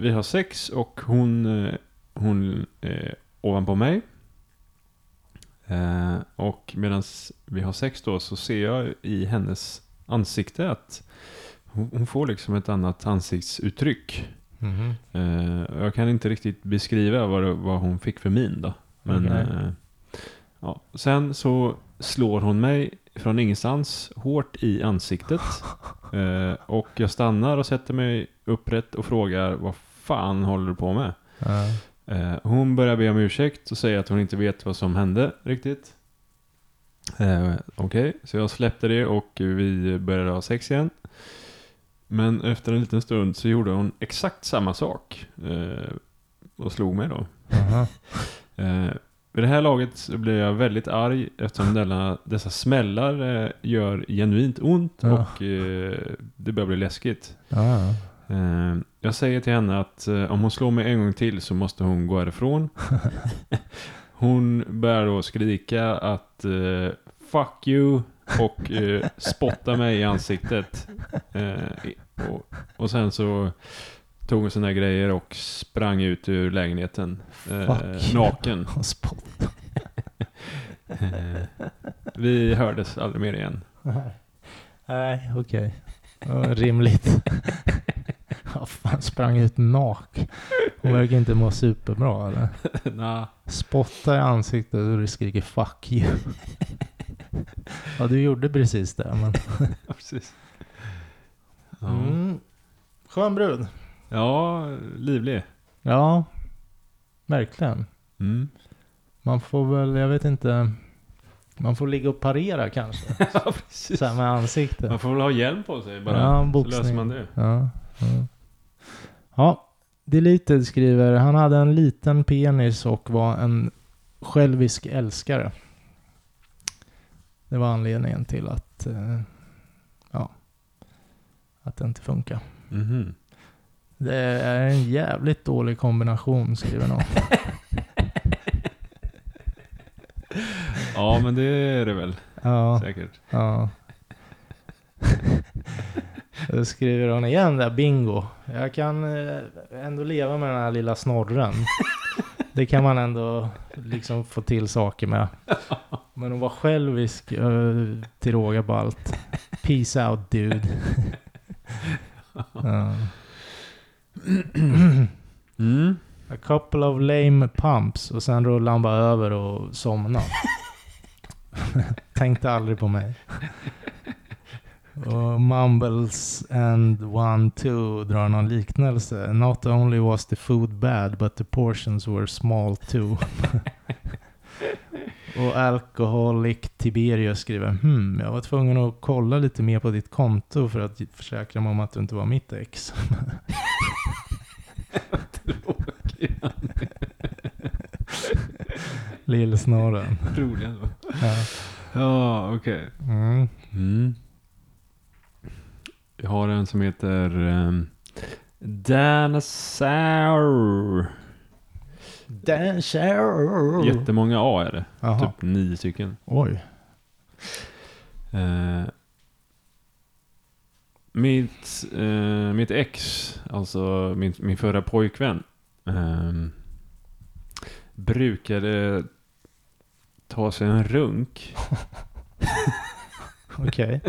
[SPEAKER 2] vi har sex och hon, eh, hon eh, ovanpå mig. Eh, och medan vi har sex då så ser jag i hennes ansikte att hon, hon får liksom ett annat ansiktsuttryck.
[SPEAKER 1] Mhm.
[SPEAKER 2] Eh, jag kan inte riktigt beskriva vad, det, vad hon fick för min då. Men,
[SPEAKER 1] Okej.
[SPEAKER 2] eh, ja. Sen så slår hon mig från ingenstans hårt i ansiktet. eh, och jag stannar och sätter mig upprätt och frågar vad fan håller du på med?
[SPEAKER 1] Ja.
[SPEAKER 2] Eh, hon börjar be om ursäkt och säger att hon inte vet vad som hände riktigt. Eh, Okej, så jag släppte det och vi började ha sex igen. Men efter en liten stund så gjorde hon exakt samma sak eh, och slog mig då.
[SPEAKER 1] Aha.
[SPEAKER 2] Eh, Vid det här laget så blir jag väldigt arg eftersom denna, dessa smällar eh, gör genuint ont
[SPEAKER 1] Ja.
[SPEAKER 2] och eh, det börjar bli läskigt.
[SPEAKER 1] Ja,
[SPEAKER 2] Eh, jag säger till henne att eh, om hon slår mig en gång till så måste hon gå härifrån. hon börjar då skrika att eh, fuck you och eh, spotta mig i ansiktet. Eh, i- och, och sen så tog hon sina grejer och sprang ut ur lägenheten eh,
[SPEAKER 1] Fuck.
[SPEAKER 2] naken.
[SPEAKER 1] ja. Spott.
[SPEAKER 2] Eh, vi hördes aldrig mer igen.
[SPEAKER 1] Nej, okej. Det var Rimligt. Ja, fan, sprang ut nak. Hon verkar inte må superbra eller?
[SPEAKER 2] Nah.
[SPEAKER 1] Spotta i ansiktet och du skriker 'fuck you'. Ja, du gjorde precis det. Men...
[SPEAKER 2] Ja, precis. Ja.
[SPEAKER 1] Mm. Skön brud.
[SPEAKER 2] ja, livlig.
[SPEAKER 1] Ja, verkligen.
[SPEAKER 2] Mm.
[SPEAKER 1] Man får väl, jag vet inte. Man får ligga och parera kanske.
[SPEAKER 2] ja, precis.
[SPEAKER 1] Så här med ansiktet.
[SPEAKER 2] Man får väl ha hjälm på sig bara.
[SPEAKER 1] Ja,
[SPEAKER 2] så
[SPEAKER 1] boxning.
[SPEAKER 2] löser man det.
[SPEAKER 1] Ja, ja. ja, Deleted skriver, han hade en liten penis och var en självisk älskare. Det var anledningen till att, eh, ja, att det inte funkar.
[SPEAKER 2] Mhm.
[SPEAKER 1] Det är en jävligt dålig kombination skriver någon.
[SPEAKER 2] Ja, men det är det väl
[SPEAKER 1] Ja,
[SPEAKER 2] säkert.
[SPEAKER 1] ja. Då skriver hon igen där, bingo. Jag kan eh, ändå leva med den här lilla snorren. Det kan man ändå liksom få till saker med. Men hon var självisk eh, till råga på allt. Peace out dude. Ja.
[SPEAKER 2] Mm.
[SPEAKER 1] A couple of lame pumps och sen rullade han bara över och somnade. Tänkte aldrig på mig. Och mumbles and one two drar någon liknelse. Not only was the food bad but the portions were small too. och alcoholic Tiberius skriver hmm, jag var tvungen att kolla lite mer på ditt konto för att försäkra mig om att du inte var mitt ex. Lillsnorren.
[SPEAKER 2] Troligen då.
[SPEAKER 1] Ja.
[SPEAKER 2] Ja, okej.
[SPEAKER 1] Mm.
[SPEAKER 2] Mm. Jag har en som heter um, Danasaur.
[SPEAKER 1] Dan Sherrow.
[SPEAKER 2] Jättemånga A är det.
[SPEAKER 1] Jaha.
[SPEAKER 2] Typ nio stycken.
[SPEAKER 1] Oj.
[SPEAKER 2] Eh, mitt, eh, mitt ex, alltså min, min förra pojkvän, ehm, brukade ta sig en runk.
[SPEAKER 1] Okej.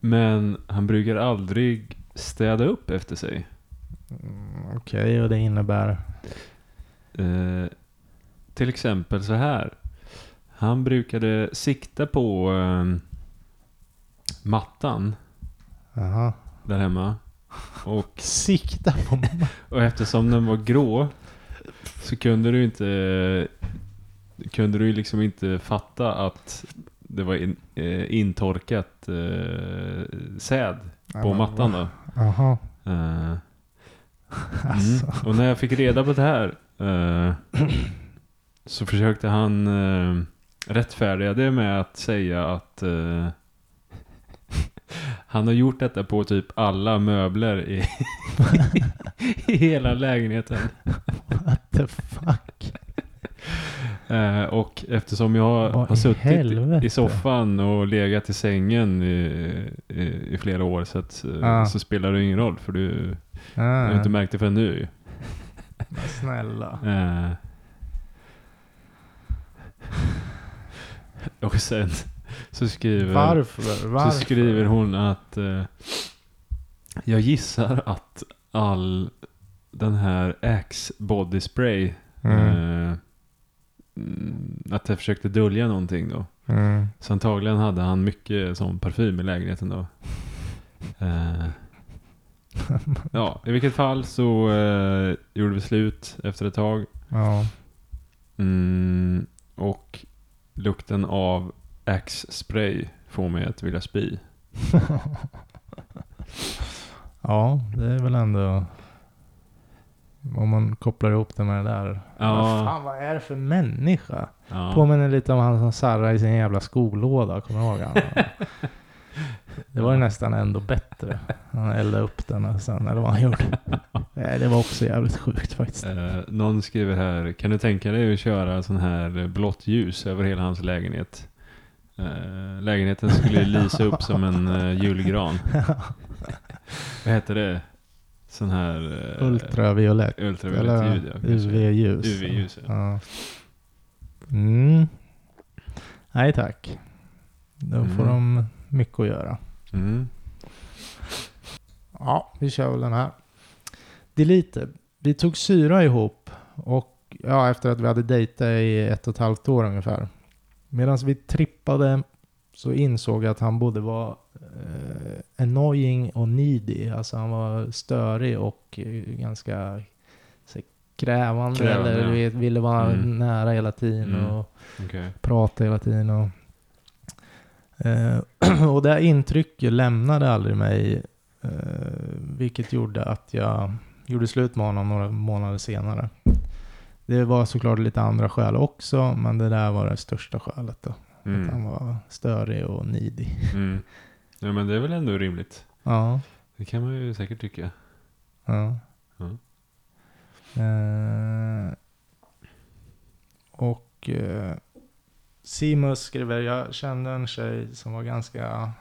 [SPEAKER 2] Men han brukar aldrig städa upp efter sig.
[SPEAKER 1] Mm, Okej, och det innebär...
[SPEAKER 2] Eh, till exempel så här. Han brukade sikta på eh, mattan
[SPEAKER 1] Jaha.
[SPEAKER 2] där hemma. Och
[SPEAKER 1] Sikta på mamma.
[SPEAKER 2] Och eftersom den var grå så kunde du inte kunde du liksom inte fatta att det var in, eh, intorkat eh, säd på mattan då.
[SPEAKER 1] Jaha.
[SPEAKER 2] Eh,
[SPEAKER 1] Alltså.
[SPEAKER 2] mm. Och när jag fick reda på det här eh, så försökte han eh, rättfärdiga det med att säga att eh, han har gjort detta på typ alla möbler i, i hela lägenheten.
[SPEAKER 1] What the fuck.
[SPEAKER 2] Eh, och eftersom jag
[SPEAKER 1] Vad
[SPEAKER 2] har
[SPEAKER 1] i
[SPEAKER 2] suttit i-
[SPEAKER 1] helvete?
[SPEAKER 2] i soffan och legat i sängen i, i, i flera år så, att, eh,
[SPEAKER 1] Ah.
[SPEAKER 2] så spelar det ingen roll för du du har
[SPEAKER 1] Ah,
[SPEAKER 2] inte märkt det förrän nu ju.
[SPEAKER 1] men snälla.
[SPEAKER 2] Eh. Och sen så skriver,
[SPEAKER 1] Varför? Varför?
[SPEAKER 2] Mm. så skriver hon att eh, jag gissar att all den här Axe body spray
[SPEAKER 1] Mm.
[SPEAKER 2] eh, mm, att jag försökte dölja någonting då.
[SPEAKER 1] Mm.
[SPEAKER 2] Så antagligen hade han mycket sån parfym i lägenheten då. Eh, ja, i vilket fall så eh, gjorde vi slut efter ett tag.
[SPEAKER 1] Ja.
[SPEAKER 2] Mm, och lukten av Axe-spray får mig att vilja spy.
[SPEAKER 1] ja, det är väl ändå... Om man kopplar ihop det med det där. Vad
[SPEAKER 2] Ja.
[SPEAKER 1] fan, vad är det för människa?
[SPEAKER 2] ja.
[SPEAKER 1] Påminner lite om han som sarrade i sin jävla skolåda, kommer du ihåg han? Det var ju nästan ändå bättre. Han eldade upp den och sen, eller vad han gjorde. Nej, det var också jävligt sjukt faktiskt.
[SPEAKER 2] Eh, någon skriver här, kan du tänka dig att köra sån här eh, blått ljus över hela hans lägenhet? Eh, lägenheten skulle ju lysa upp som en eh, julgran. Vad heter det? Sån här... eh,
[SPEAKER 1] Ultraviolett.
[SPEAKER 2] Ultraviolett
[SPEAKER 1] Eller
[SPEAKER 2] ljud, ja. kanske.
[SPEAKER 1] UV-ljus.
[SPEAKER 2] UV-ljus, ja.
[SPEAKER 1] ja. Mm. Nej tack. Då får
[SPEAKER 2] Mm.
[SPEAKER 1] de mycket att göra.
[SPEAKER 2] Mm.
[SPEAKER 1] Ja, vi kör väl den här. Deleted. Vi tog syra ihop och ja, efter att vi hade dejtat i ett och ett halvt år ungefär. Medan vi trippade så insåg jag att han både var eh, annoying och needy. Alltså han var störig och eh, ganska så, här, krävande.
[SPEAKER 2] Krävande,
[SPEAKER 1] eller du
[SPEAKER 2] ja.
[SPEAKER 1] vet, ville vara
[SPEAKER 2] Mm.
[SPEAKER 1] nära hela tiden.
[SPEAKER 2] Mm.
[SPEAKER 1] Och,
[SPEAKER 2] Okej.
[SPEAKER 1] prata hela tiden. Och, eh, och det här intrycket lämnade aldrig mig. Eh, vilket gjorde att jag gjorde slut med honom några månader senare. Det var såklart lite andra skäl också, men det där var det största skälet. Då, att han
[SPEAKER 2] Mm.
[SPEAKER 1] var störig och nidig.
[SPEAKER 2] Mm. Ja men det är väl ändå rimligt.
[SPEAKER 1] Ja,
[SPEAKER 2] Det kan man ju säkert tycka.
[SPEAKER 1] ja.
[SPEAKER 2] Mm.
[SPEAKER 1] Eh, och eh, Simus skriver, jag kände en tjej som var ganska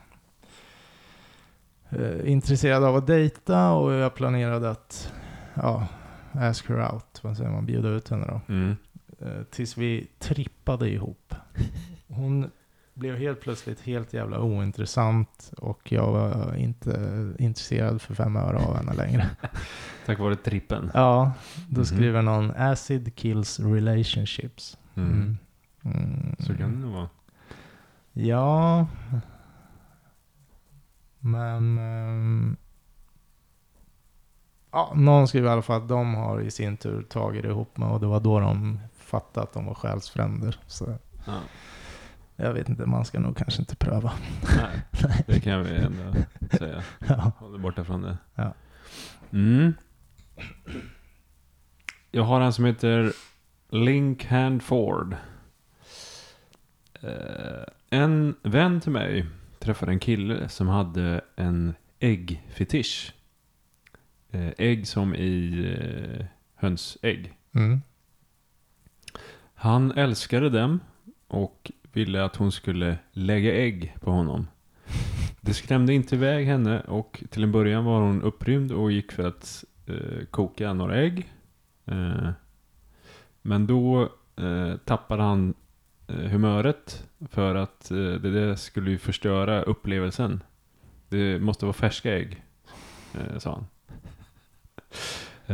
[SPEAKER 1] eh, intresserad av att dejta och jag planerade att ja, ask her out, vad säger man, bjuda ut henne då.
[SPEAKER 2] Mm.
[SPEAKER 1] Eh, tills vi trippade ihop. Hon blev helt plötsligt helt jävla ointressant och jag var inte intresserad för fem öre av henne längre.
[SPEAKER 2] Tack vare trippen.
[SPEAKER 1] Ja, då
[SPEAKER 2] Mhm.
[SPEAKER 1] skriver någon Acid kills relationships.
[SPEAKER 2] Mm.
[SPEAKER 1] Mm. Mm.
[SPEAKER 2] Så kan det nog vara.
[SPEAKER 1] Ja. Men... ehm, ja, någon skriver i alla fall att de har i sin tur tagit det ihop med och det var då de fattade att de var själsfränder. Så
[SPEAKER 2] Ja.
[SPEAKER 1] jag vet inte, man ska nog kanske inte pröva.
[SPEAKER 2] Nej, det kan vi ändå säga.
[SPEAKER 1] Ja.
[SPEAKER 2] Håll dig borta från det.
[SPEAKER 1] Ja.
[SPEAKER 2] Mm. Jag har en som heter Link Handford. Eh, en vän till mig träffade en kille som hade en äggfetisch. Eh, ägg som i eh, hönsägg.
[SPEAKER 1] Mm.
[SPEAKER 2] Han älskade dem och ville att hon skulle lägga ägg på honom. Det skrämde inte iväg henne och till en början var hon upprymd och gick för att eh, koka några ägg. Eh, men då eh, tappade han eh, humöret för att eh, det där skulle ju förstöra upplevelsen. Det måste vara färska ägg, eh, sa han.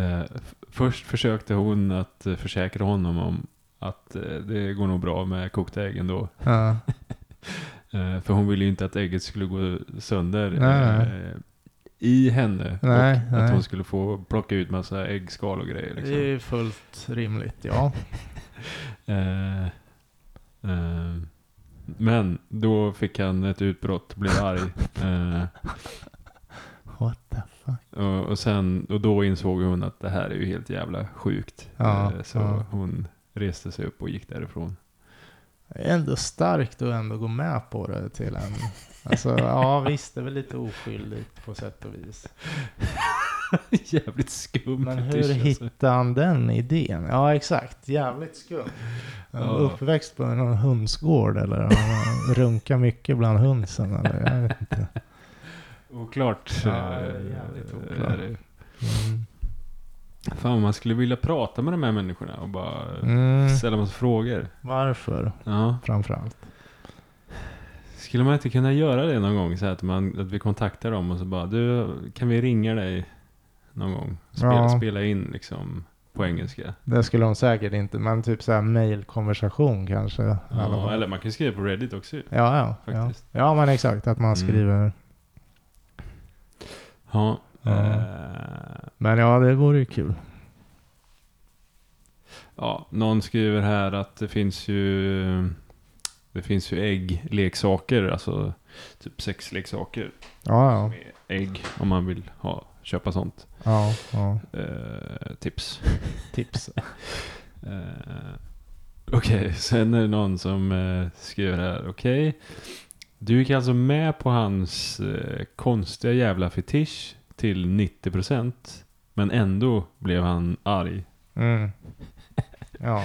[SPEAKER 2] Eh, f- först försökte hon att eh, försäkra honom om att eh, det går nog bra med kokta ägg ändå.
[SPEAKER 1] Ja.
[SPEAKER 2] Eh, För hon ville ju inte att ägget skulle gå sönder
[SPEAKER 1] Nej,
[SPEAKER 2] eh, i henne.
[SPEAKER 1] Nej,
[SPEAKER 2] och
[SPEAKER 1] nej.
[SPEAKER 2] att hon skulle få plocka ut massa äggskal och grejer.
[SPEAKER 1] Det är
[SPEAKER 2] Liksom.
[SPEAKER 1] ju fullt rimligt, ja.
[SPEAKER 2] Eh, eh, men då fick han ett utbrott, blev arg. Eh,
[SPEAKER 1] What the fuck.
[SPEAKER 2] och, och, sen, och då insåg hon att det här är ju helt jävla sjukt.
[SPEAKER 1] Ja,
[SPEAKER 2] Eh, så
[SPEAKER 1] ja.
[SPEAKER 2] hon reste sig upp och gick därifrån.
[SPEAKER 1] Det är ändå starkt att ändå gå med på det till en... Alltså, ja visst, det är väl lite oskyldigt på sätt och vis.
[SPEAKER 2] Jävligt skum
[SPEAKER 1] Men hur
[SPEAKER 2] fetisch, alltså.
[SPEAKER 1] hittade han den idén? Ja, exakt. Jävligt skumt. Han var
[SPEAKER 2] Ja.
[SPEAKER 1] Uppväxt på någon hönsgård eller han runkar mycket bland hönsen eller jag vet inte.
[SPEAKER 2] Oklart.
[SPEAKER 1] Ja, det är jävligt
[SPEAKER 2] eh,
[SPEAKER 1] oklart.
[SPEAKER 2] är det.
[SPEAKER 1] Mm.
[SPEAKER 2] Fan, man skulle vilja prata med de här människorna och bara
[SPEAKER 1] Mm.
[SPEAKER 2] ställa massa frågor.
[SPEAKER 1] Varför
[SPEAKER 2] Ja.
[SPEAKER 1] framförallt?
[SPEAKER 2] Skulle man inte kunna göra det någon gång? Så här att, man, att vi kontaktar dem och så bara, du, kan vi ringa dig någon gång? Spela,
[SPEAKER 1] Ja.
[SPEAKER 2] spela in liksom på engelska.
[SPEAKER 1] Det skulle de säkert inte, men typ så här mailkonversation kanske. i alla
[SPEAKER 2] Ja,
[SPEAKER 1] fall.
[SPEAKER 2] eller man kan skriva på Reddit också ju.
[SPEAKER 1] ja, ja, ja.
[SPEAKER 2] Faktiskt.
[SPEAKER 1] ja, men exakt. Att man
[SPEAKER 2] Mm.
[SPEAKER 1] skriver.
[SPEAKER 2] Ja.
[SPEAKER 1] Ja.
[SPEAKER 2] eh,
[SPEAKER 1] Men ja, det vore ju kul.
[SPEAKER 2] ja. Någon skriver här att det finns ju Det finns ju äggleksaker, alltså typ sexleksaker
[SPEAKER 1] Ja, ja.
[SPEAKER 2] med ägg om man vill ha, köpa sånt.
[SPEAKER 1] ja, ja.
[SPEAKER 2] Eh, tips.
[SPEAKER 1] Tips.
[SPEAKER 2] Eh, okej, sen är det någon som eh, skriver här. Okej, du gick alltså med på hans eh, konstiga jävla fetisch till 90% men ändå blev han arg.
[SPEAKER 1] Mm. Ja,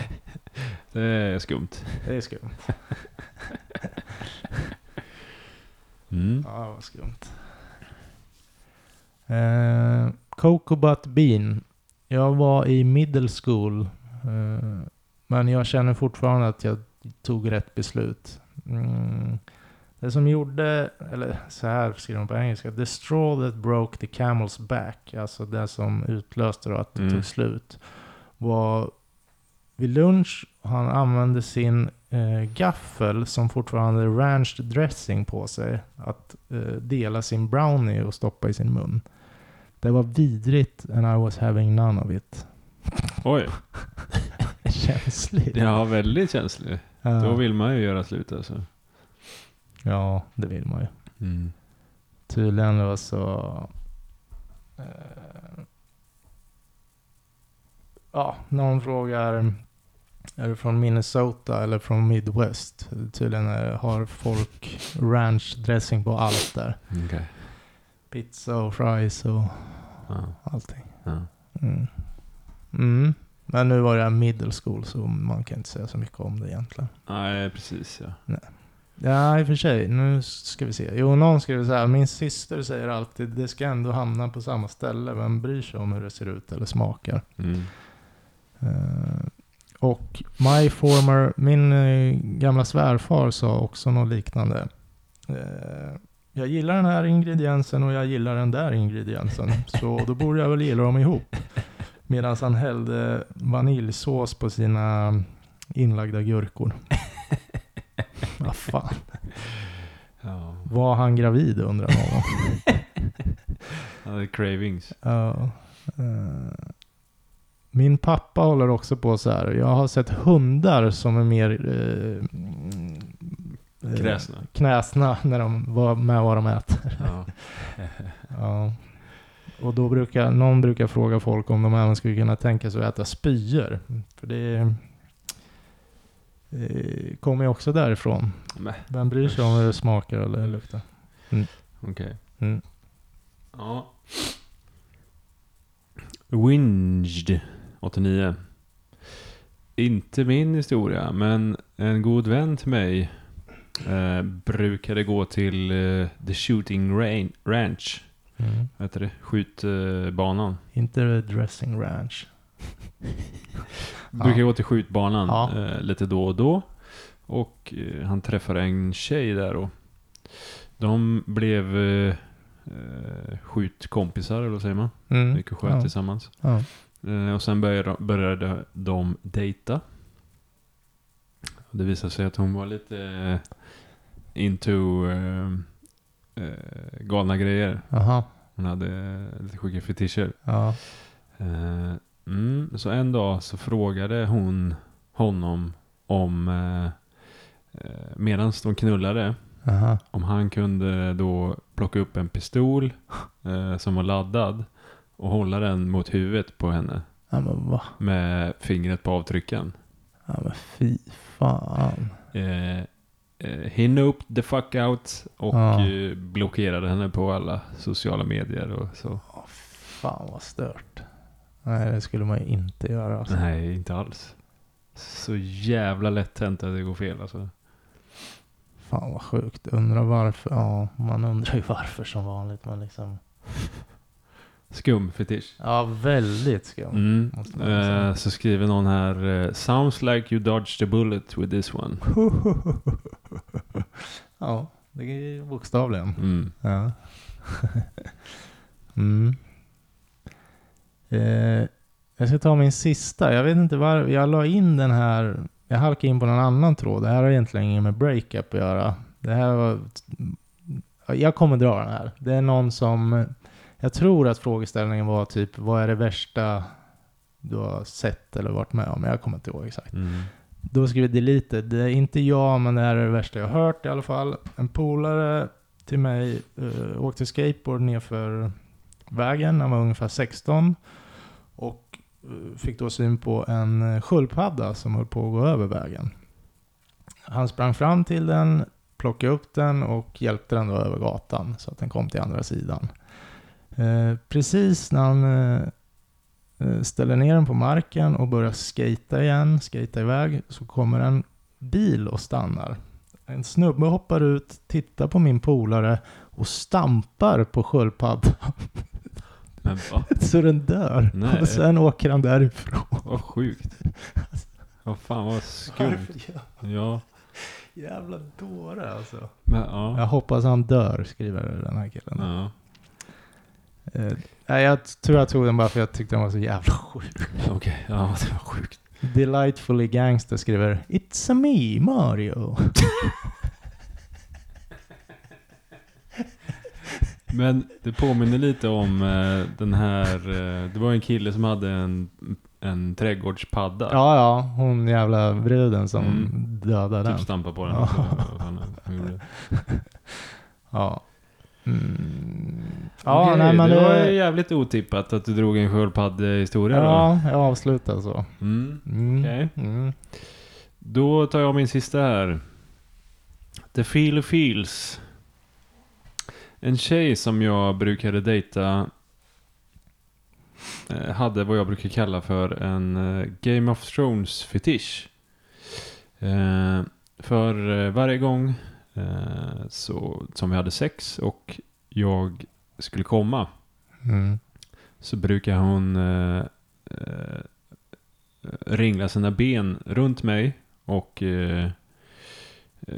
[SPEAKER 2] Det är skumt.
[SPEAKER 1] det är skumt.
[SPEAKER 2] Mm.
[SPEAKER 1] Ja, vad skumt. Eh, Coco Butt Bean. Jag var i middle school. Eh, men jag känner fortfarande att jag tog rätt beslut. Mm. Det som gjorde, eller så här skriver de på engelska. The straw that broke the camel's back. Alltså det som utlöste då att det
[SPEAKER 2] Mm.
[SPEAKER 1] tog slut. Var vid lunch. Han använde sin eh, gaffel som fortfarande hade ranch dressing på sig. Att eh, dela sin brownie och stoppa i sin mun. Det var vidrigt and I was having none of it.
[SPEAKER 2] Oj,
[SPEAKER 1] Känsligt.
[SPEAKER 2] ja väldigt känslig.
[SPEAKER 1] Ja.
[SPEAKER 2] Då vill man ju göra slut alltså.
[SPEAKER 1] ja, det vill man ju. Tydligen var så... Eh, ja, någon frågar är du från Minnesota eller från Midwest? Tydligen eh, har folk ranch dressing på allt där.
[SPEAKER 2] Okej.
[SPEAKER 1] Pizza och fries och
[SPEAKER 2] Ja,
[SPEAKER 1] allting.
[SPEAKER 2] ja.
[SPEAKER 1] Mm. Mm. Men nu var det här middle school så man kan inte säga så mycket om det egentligen.
[SPEAKER 2] Nej, precis ja.
[SPEAKER 1] Ja, i och för sig. Nu ska vi se. Jo, någon skriver så här. Min syster säger alltid det ska ändå hamna på samma ställe. Vem bryr sig om hur det ser ut eller smakar?
[SPEAKER 2] Mm.
[SPEAKER 1] Eh, och my former, min eh, gamla svärfar sa också något liknande. Eh, jag gillar den här ingrediensen och jag gillar den där ingrediensen. Så då borde jag väl gilla dem ihop. Medan han hällde vaniljsås på sina inlagda gurkor. Vad fan.
[SPEAKER 2] Ja.
[SPEAKER 1] Var han gravid undrar någon.
[SPEAKER 2] Ja, det är cravings.
[SPEAKER 1] Ja, eh. min pappa håller också på så här. Jag har sett hundar som är mer eh, mm, eh,
[SPEAKER 2] Kräsna.
[SPEAKER 1] knäsna när de var med vad de äter.
[SPEAKER 2] Ja.
[SPEAKER 1] Ja. Och då brukar någon brukar fråga folk om de även skulle kunna tänka sig att äta spyor. För det eh, kommer ju också därifrån.
[SPEAKER 2] Men,
[SPEAKER 1] Vem bryr sig om hur det smakar eller luktar?
[SPEAKER 2] Okej.
[SPEAKER 1] Mm.
[SPEAKER 2] Ja. Winged 89. Inte min historia, men en god vän till mig eh, brukade gå till eh, The Shooting Rain, Ranch.
[SPEAKER 1] Mm.
[SPEAKER 2] Vad heter det? Skjutbanan.
[SPEAKER 1] Inte dressing ranch.
[SPEAKER 2] Brukar gå till skjutbanan
[SPEAKER 1] Ja.
[SPEAKER 2] eh, lite då och då. Och eh, han träffade en tjej där och de blev eh, eh, skjutkompisar, eller vad säger man?
[SPEAKER 1] Mm.
[SPEAKER 2] Gick och sköt
[SPEAKER 1] Ja.
[SPEAKER 2] tillsammans.
[SPEAKER 1] Ja.
[SPEAKER 2] Eh, och sen började, de- började de dejta. Och det visade sig att hon var lite eh, into eh, eh, galna grejer.
[SPEAKER 1] Aha.
[SPEAKER 2] Hon hade eh, lite sjuka fetischer.
[SPEAKER 1] Ja.
[SPEAKER 2] Eh, mm, så en dag så frågade hon honom om, eh, eh, medan de knullade,
[SPEAKER 1] Aha.
[SPEAKER 2] om han kunde då plocka upp en pistol eh, som var laddad och hålla den mot huvudet på henne
[SPEAKER 1] Ja men va?
[SPEAKER 2] med fingret på avtrycken.
[SPEAKER 1] Ja men fy fan.
[SPEAKER 2] Eh, eh, he noped the fuck out och
[SPEAKER 1] Ja.
[SPEAKER 2] eh, blockerade henne på alla sociala medier och så.
[SPEAKER 1] Åh, fan vad stört. Nej det skulle man ju inte göra alltså.
[SPEAKER 2] Nej, inte alls. Så jävla lätt hänt att det går fel alltså.
[SPEAKER 1] Fan vad sjukt. Undrar varför. Ja man undrar ju varför som vanligt. Men liksom.
[SPEAKER 2] Skum fetisch.
[SPEAKER 1] Ja väldigt skumt.
[SPEAKER 2] Mm.
[SPEAKER 1] måste man säga.
[SPEAKER 2] Eh, så skriver någon här. eh, Sounds like you dodged the bullet with this one.
[SPEAKER 1] ja det är ju bokstavligen.
[SPEAKER 2] Mm.
[SPEAKER 1] Ja. mm. eh, jag ska ta min sista. Jag vet inte varför. Jag la in den här. Jag halkade in på någon annan tråd. Det här har egentligen inget med breakup att göra. Det här var... Jag kommer dra den här. Det är någon som... Jag tror att frågeställningen var typ vad är det värsta du har sett eller varit med om? Jag kommer inte ihåg exakt.
[SPEAKER 2] Mm.
[SPEAKER 1] Då skrev jag deleted. Det är inte jag, men det här är det värsta jag har hört i alla fall. En polare till mig eh, åkte skateboard nerför vägen. Han var ungefär 16. Och eh, fick då syn på en eh, sköldpadda som höll på att gå över vägen. Han sprang fram till den, plockade upp den och hjälpte den då över gatan så att den kom till andra sidan. Eh, precis när han eh, eh, ställer ner den på marken och börjar skata igen, skata iväg, så kommer en bil och stannar. En snubbe hoppar ut, tittar på min polare och stampar på sköldpaddan
[SPEAKER 2] Men va?
[SPEAKER 1] så den dör.
[SPEAKER 2] Nej.
[SPEAKER 1] Och sen åker han därifrån.
[SPEAKER 2] Vad sjukt. Vad fan vad skumt.
[SPEAKER 1] Varför gör-
[SPEAKER 2] Ja.
[SPEAKER 1] Jävla dåre alltså.
[SPEAKER 2] Men ja.
[SPEAKER 1] Jag hoppas han dör, skriver den här killen.
[SPEAKER 2] Ja.
[SPEAKER 1] Eh, nej, jag t- tror jag tog den bara för jag tyckte den var så jävla sjuk.
[SPEAKER 2] Okej. Ja, det var sjukt.
[SPEAKER 1] Delightfully Gangster skriver It's a me, Mario.
[SPEAKER 2] Men det påminner lite om eh, den här. Eh, det var en kille som hade en, en trädgårdspadda.
[SPEAKER 1] Ja, ja, hon jävla bruden som
[SPEAKER 2] Mm.
[SPEAKER 1] dödade den.
[SPEAKER 2] Typ stampa på den.
[SPEAKER 1] Ja.
[SPEAKER 2] Vad fan han gjorde.
[SPEAKER 1] Ja. Mm. Ja,
[SPEAKER 2] Ja, Okej,
[SPEAKER 1] nej men
[SPEAKER 2] det var
[SPEAKER 1] det...
[SPEAKER 2] ju jävligt otippat att du drog en sköldpaddehistoria då.
[SPEAKER 1] Ja, jag avslutar så.
[SPEAKER 2] Mm.
[SPEAKER 1] Mm.
[SPEAKER 2] Okej.
[SPEAKER 1] Mm.
[SPEAKER 2] Då tar jag min sista här. The Feel Feels. En tjej som jag brukade dejta eh, hade vad jag brukar kalla för en eh, Game of Thrones-fetisch. Eh, För eh, varje gång eh, så, som vi hade sex och jag skulle komma
[SPEAKER 1] Mm.
[SPEAKER 2] så brukar hon eh, eh, ringla sina ben runt mig och eh, eh,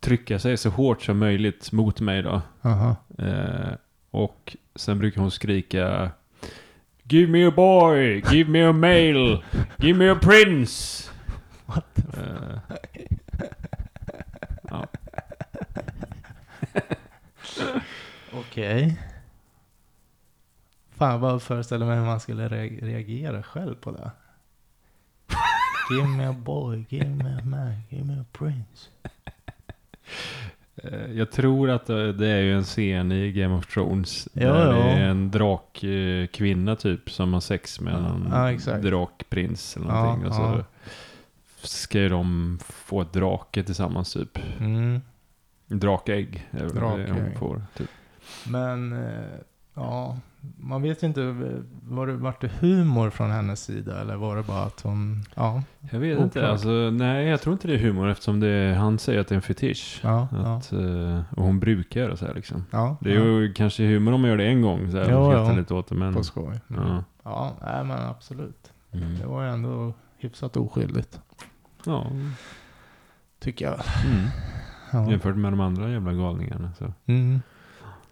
[SPEAKER 2] trycka sig så hårt som möjligt mot mig då.
[SPEAKER 1] Aha.
[SPEAKER 2] Eh, och sen brukar hon skrika Give me a boy, give me a male, give me a prince. Eh, ja.
[SPEAKER 1] Okej. Fan, jag bara föreställer mig hur man skulle re- reagera själv på det. Give me a boy, give me a man, give me a prince.
[SPEAKER 2] Eh, Jag tror att eh, det är ju en scen i Game of Thrones.
[SPEAKER 1] Ja,
[SPEAKER 2] där
[SPEAKER 1] ja.
[SPEAKER 2] det är en drakkvinna typ som har sex med en
[SPEAKER 1] Ja, exakt.
[SPEAKER 2] drakprins eller någonting.
[SPEAKER 1] Ja,
[SPEAKER 2] och så
[SPEAKER 1] ja.
[SPEAKER 2] ska ju de få ett drake tillsammans typ.
[SPEAKER 1] Mm.
[SPEAKER 2] Drakägg är väl det hon
[SPEAKER 1] Drakägg.
[SPEAKER 2] får. Typ.
[SPEAKER 1] Men eh, ja, man vet ju inte. eh, Var det, vart det humor från hennes sida eller var det bara att hon... Ja,
[SPEAKER 2] Jag vet
[SPEAKER 1] Oklart.
[SPEAKER 2] inte. Alltså, nej, jag tror inte det är humor eftersom det är, han säger att det är en fetisch.
[SPEAKER 1] ja, ja.
[SPEAKER 2] Att, eh, och hon brukar göra så här liksom.
[SPEAKER 1] ja
[SPEAKER 2] Det är ju kanske humor om man gör det en gång. Så här,
[SPEAKER 1] Ja,
[SPEAKER 2] och skrattar
[SPEAKER 1] ja.
[SPEAKER 2] lite åt det,
[SPEAKER 1] ja,
[SPEAKER 2] men,
[SPEAKER 1] på skoj. Mm.
[SPEAKER 2] ja.
[SPEAKER 1] Ja, nej, men absolut.
[SPEAKER 2] Mm.
[SPEAKER 1] Det var ju ändå hyfsat oskyldigt,
[SPEAKER 2] Ja.
[SPEAKER 1] tycker jag.
[SPEAKER 2] Mm.
[SPEAKER 1] Ja.
[SPEAKER 2] Jämfört med de andra jävla galningarna. Så.
[SPEAKER 1] Mm.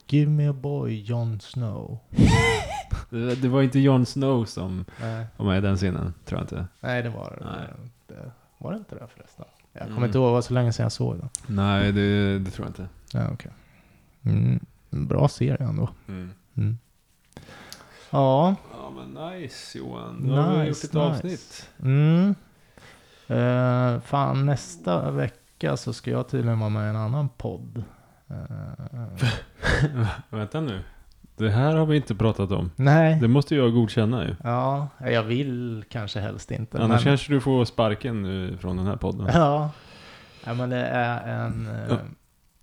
[SPEAKER 1] Give me a boy, Jon Snow.
[SPEAKER 2] Det, det var inte Jon Snow som
[SPEAKER 1] Nej,
[SPEAKER 2] var med i den scenen, tror jag inte.
[SPEAKER 1] nej det var det.
[SPEAKER 2] Nej.
[SPEAKER 1] det. Var det inte det förresten? Jag kommer
[SPEAKER 2] Mm.
[SPEAKER 1] inte ihåg, det var så länge sedan jag såg den.
[SPEAKER 2] Nej, det, det tror jag inte.
[SPEAKER 1] Ja, okej. Mm. Bra serie ändå. Mm. Ja.
[SPEAKER 2] Ja men nice Johan, nu har vi gjort
[SPEAKER 1] Nice,
[SPEAKER 2] ett
[SPEAKER 1] nice.
[SPEAKER 2] avsnitt.
[SPEAKER 1] Mm. Eh, fan, nästa vecka så ska jag tydligen vara med i en annan podd. Eh,
[SPEAKER 2] Vänta nu, det här har vi inte pratat om.
[SPEAKER 1] nej.
[SPEAKER 2] Det måste jag godkänna ju.
[SPEAKER 1] Ja, jag vill kanske helst inte.
[SPEAKER 2] Annars
[SPEAKER 1] men,
[SPEAKER 2] kanske du får sparken nu från den här podden.
[SPEAKER 1] ja. ja, men det är en... eh,
[SPEAKER 2] Ja.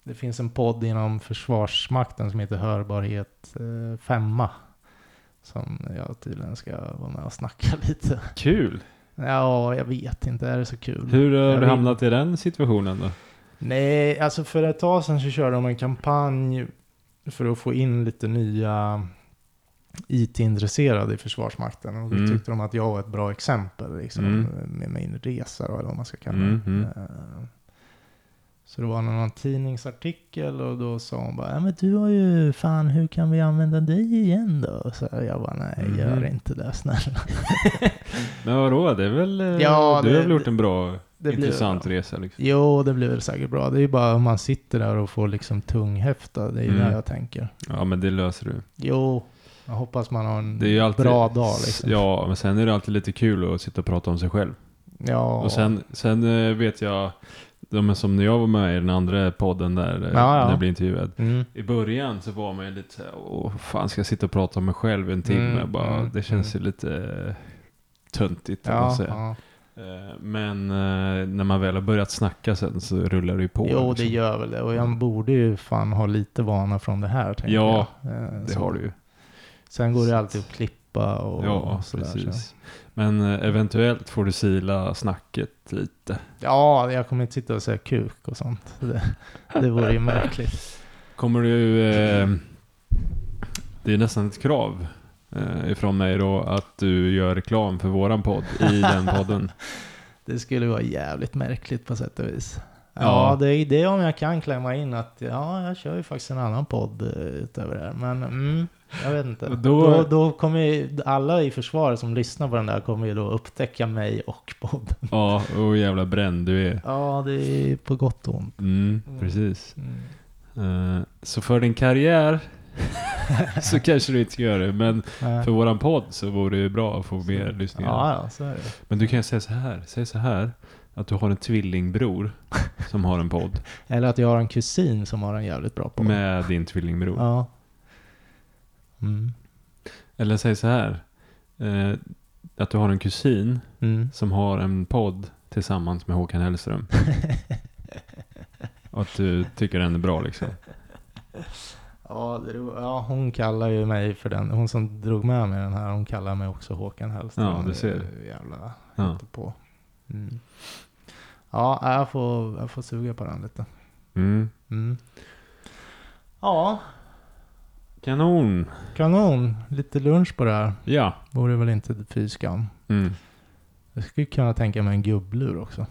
[SPEAKER 1] Det finns en podd inom Försvarsmakten som heter Hörbarhet eh, 5. Som jag tydligen ska vara med och snacka lite.
[SPEAKER 2] Kul!
[SPEAKER 1] Ja, jag vet inte. Är det så kul?
[SPEAKER 2] Hur har
[SPEAKER 1] Jag
[SPEAKER 2] du
[SPEAKER 1] vill-
[SPEAKER 2] hamnat i den situationen då?
[SPEAKER 1] Nej, alltså för ett tag sedan så körde de en kampanj för att få in lite nya IT-intresserade i Försvarsmakten. Och då
[SPEAKER 2] Mm.
[SPEAKER 1] tyckte de att jag var ett bra exempel liksom,
[SPEAKER 2] Mm.
[SPEAKER 1] med min resa, då, eller vad man ska kalla
[SPEAKER 2] Mm,
[SPEAKER 1] det.
[SPEAKER 2] mm.
[SPEAKER 1] Eh, Så det var någon tidningsartikel och då sa hon bara, ja men du har ju, fan hur kan vi använda dig igen då? Så jag bara, nej
[SPEAKER 2] Mhm.
[SPEAKER 1] gör inte det snälla.
[SPEAKER 2] Men vadå, det är väl... eh,
[SPEAKER 1] Ja,
[SPEAKER 2] du
[SPEAKER 1] det-
[SPEAKER 2] har väl gjort en bra,
[SPEAKER 1] Det blir
[SPEAKER 2] intressant
[SPEAKER 1] bra.
[SPEAKER 2] resa liksom.
[SPEAKER 1] Jo, det blir väl säkert bra. Det är ju bara om man sitter där och får liksom tunghäfta. Det är ju
[SPEAKER 2] Mm.
[SPEAKER 1] det jag tänker.
[SPEAKER 2] Ja men det löser du.
[SPEAKER 1] Jo, jag hoppas man har en
[SPEAKER 2] Det är ju alltid...
[SPEAKER 1] bra dag liksom.
[SPEAKER 2] Ja, men sen är det alltid lite kul att sitta och prata om sig själv.
[SPEAKER 1] Ja.
[SPEAKER 2] Och sen, sen eh, vet jag, de är som när jag var med i den andra podden där, eh,
[SPEAKER 1] Ja, ja.
[SPEAKER 2] när jag blev intervjuad.
[SPEAKER 1] Mm.
[SPEAKER 2] I början så var man ju lite såhär, åh fan ska jag sitta och prata om mig själv en timme?
[SPEAKER 1] Mm,
[SPEAKER 2] bara,
[SPEAKER 1] mm,
[SPEAKER 2] det känns ju lite eh, töntigt. kan man
[SPEAKER 1] Ja,
[SPEAKER 2] säga.
[SPEAKER 1] ja.
[SPEAKER 2] Eh, Men eh, när man väl har börjat snacka sen så rullar det ju på.
[SPEAKER 1] Jo, det
[SPEAKER 2] liksom.
[SPEAKER 1] gör väl det. Och jag borde ju fan ha lite vana från det här. Tänker
[SPEAKER 2] Ja,
[SPEAKER 1] jag. Eh,
[SPEAKER 2] det
[SPEAKER 1] så.
[SPEAKER 2] har du ju.
[SPEAKER 1] Sen går
[SPEAKER 2] Så
[SPEAKER 1] det
[SPEAKER 2] att-
[SPEAKER 1] alltid att klippa och,
[SPEAKER 2] Ja,
[SPEAKER 1] och sådär. Så.
[SPEAKER 2] precis. Men eh, eventuellt får du sila snacket lite.
[SPEAKER 1] Ja, jag kommer inte sitta och säga kuk och sånt. Det, det vore ju märkligt.
[SPEAKER 2] Kommer du... Eh, det är nästan ett krav eh, ifrån mig då att du gör reklam för våran podd i den podden.
[SPEAKER 1] Det skulle vara jävligt märkligt på sätt och vis. Ja,
[SPEAKER 2] Ja.
[SPEAKER 1] det är det är om jag kan klämma in att ja, jag kör ju faktiskt en annan podd eh, utöver det här. Men mm, jag vet inte.
[SPEAKER 2] Då-
[SPEAKER 1] Då, då, kommer ju alla i försvaret som lyssnar på den där kommer ju då upptäcka mig och podden.
[SPEAKER 2] Ja, och jävla bränd du är.
[SPEAKER 1] Ja, det är på gott och ont.
[SPEAKER 2] Mm,
[SPEAKER 1] Mm.
[SPEAKER 2] precis.
[SPEAKER 1] Mm.
[SPEAKER 2] Eh, så för din karriär så kanske du inte gör det, men
[SPEAKER 1] Nej. Mm.
[SPEAKER 2] för våran podd så vore det ju bra att få mer lyssningar.
[SPEAKER 1] Ja, ja, så är det.
[SPEAKER 2] Men du kan ju säga så här, säg så här att du har en tvillingbror som har en podd
[SPEAKER 1] Eller att jag har en kusin som har en jävligt bra podd.
[SPEAKER 2] med din tvillingbror.
[SPEAKER 1] Ja. Mm.
[SPEAKER 2] Eller säg så här, eh, att du har en kusin
[SPEAKER 1] Mm.
[SPEAKER 2] som har en podd tillsammans med Håkan Hellström. Och att du tycker den är bra liksom.
[SPEAKER 1] Ja, det, ro- ja, hon kallar ju mig för den. Hon som drog med mig den här, hon kallar mig också Håkan Hellström.
[SPEAKER 2] Ja, du ser.
[SPEAKER 1] Det är ju Jävla
[SPEAKER 2] Ja.
[SPEAKER 1] inte på. Mm. Ja, jag får, jag får suga på den lite.
[SPEAKER 2] Mm.
[SPEAKER 1] Mm. Ja,
[SPEAKER 2] Kanon!
[SPEAKER 1] kanon. Lite lunch på det här.
[SPEAKER 2] Ja.
[SPEAKER 1] Vore väl inte fy skam.
[SPEAKER 2] Mm.
[SPEAKER 1] Jag skulle kunna tänka mig en gubblur också.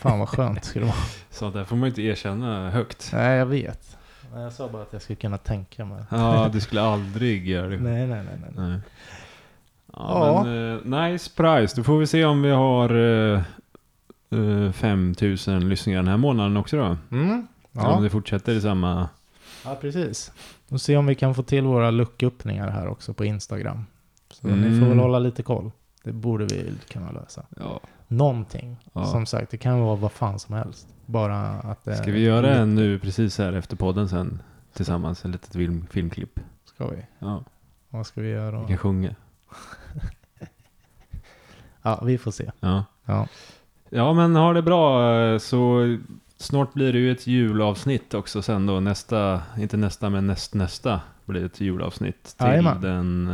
[SPEAKER 1] Fan vad skönt skulle det vara.
[SPEAKER 2] Så där får man ju inte erkänna högt.
[SPEAKER 1] Nej, jag vet. Men jag sa bara att jag skulle kunna tänka mig.
[SPEAKER 2] Ja, du skulle aldrig göra det.
[SPEAKER 1] Nej, nej, nej. nej.
[SPEAKER 2] Nej. Ja,
[SPEAKER 1] Ja.
[SPEAKER 2] Men, eh, nice price. Då får vi se om vi har eh, eh, 5000 lyssningar den här månaden också då.
[SPEAKER 1] Mm.
[SPEAKER 2] Eller Om
[SPEAKER 1] Ja.
[SPEAKER 2] det fortsätter i samma...
[SPEAKER 1] ja, precis. Och se om vi kan få till våra lucköppningar här också på Instagram. Så
[SPEAKER 2] Mm.
[SPEAKER 1] ni får väl hålla lite koll. Det borde vi kunna lösa.
[SPEAKER 2] Ja.
[SPEAKER 1] Någonting.
[SPEAKER 2] Ja.
[SPEAKER 1] Som sagt, det kan vara vad fan som helst. Bara att det...
[SPEAKER 2] Ska vi göra en nu precis här efter podden sen? Tillsammans, ett litet film, filmklipp.
[SPEAKER 1] Ska vi?
[SPEAKER 2] Ja,
[SPEAKER 1] Vad ska vi göra
[SPEAKER 2] vi
[SPEAKER 1] då?
[SPEAKER 2] kan sjunga.
[SPEAKER 1] Ja, vi får se.
[SPEAKER 2] Ja.
[SPEAKER 1] Ja.
[SPEAKER 2] ja, men ha det bra. eh, Så snart blir det ju ett julavsnitt också sen då. Nästa, inte nästa, men näst nästa blir ett julavsnitt. Till
[SPEAKER 1] Jajamän.
[SPEAKER 2] den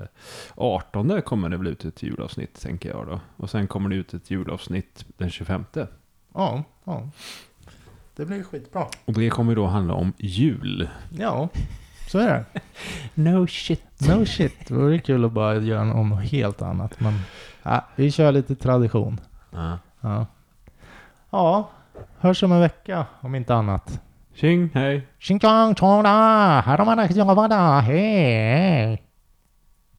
[SPEAKER 2] eh, 18 kommer det väl ut ett julavsnitt, tänker jag då. Och sen kommer det ut ett julavsnitt den 25.
[SPEAKER 1] Ja, ja. Det blir skitbra.
[SPEAKER 2] Och det kommer ju då handla om jul.
[SPEAKER 1] Ja, så är det.
[SPEAKER 2] No shit.
[SPEAKER 1] No shit, det vore kul att bara göra något om något helt annat. Men ja, vi kör lite tradition.
[SPEAKER 2] Ja.
[SPEAKER 1] Ja. ja, hörs om en vecka om inte annat.
[SPEAKER 2] Tjing, hej.
[SPEAKER 1] Tjing tjong tjong da, här har man hej!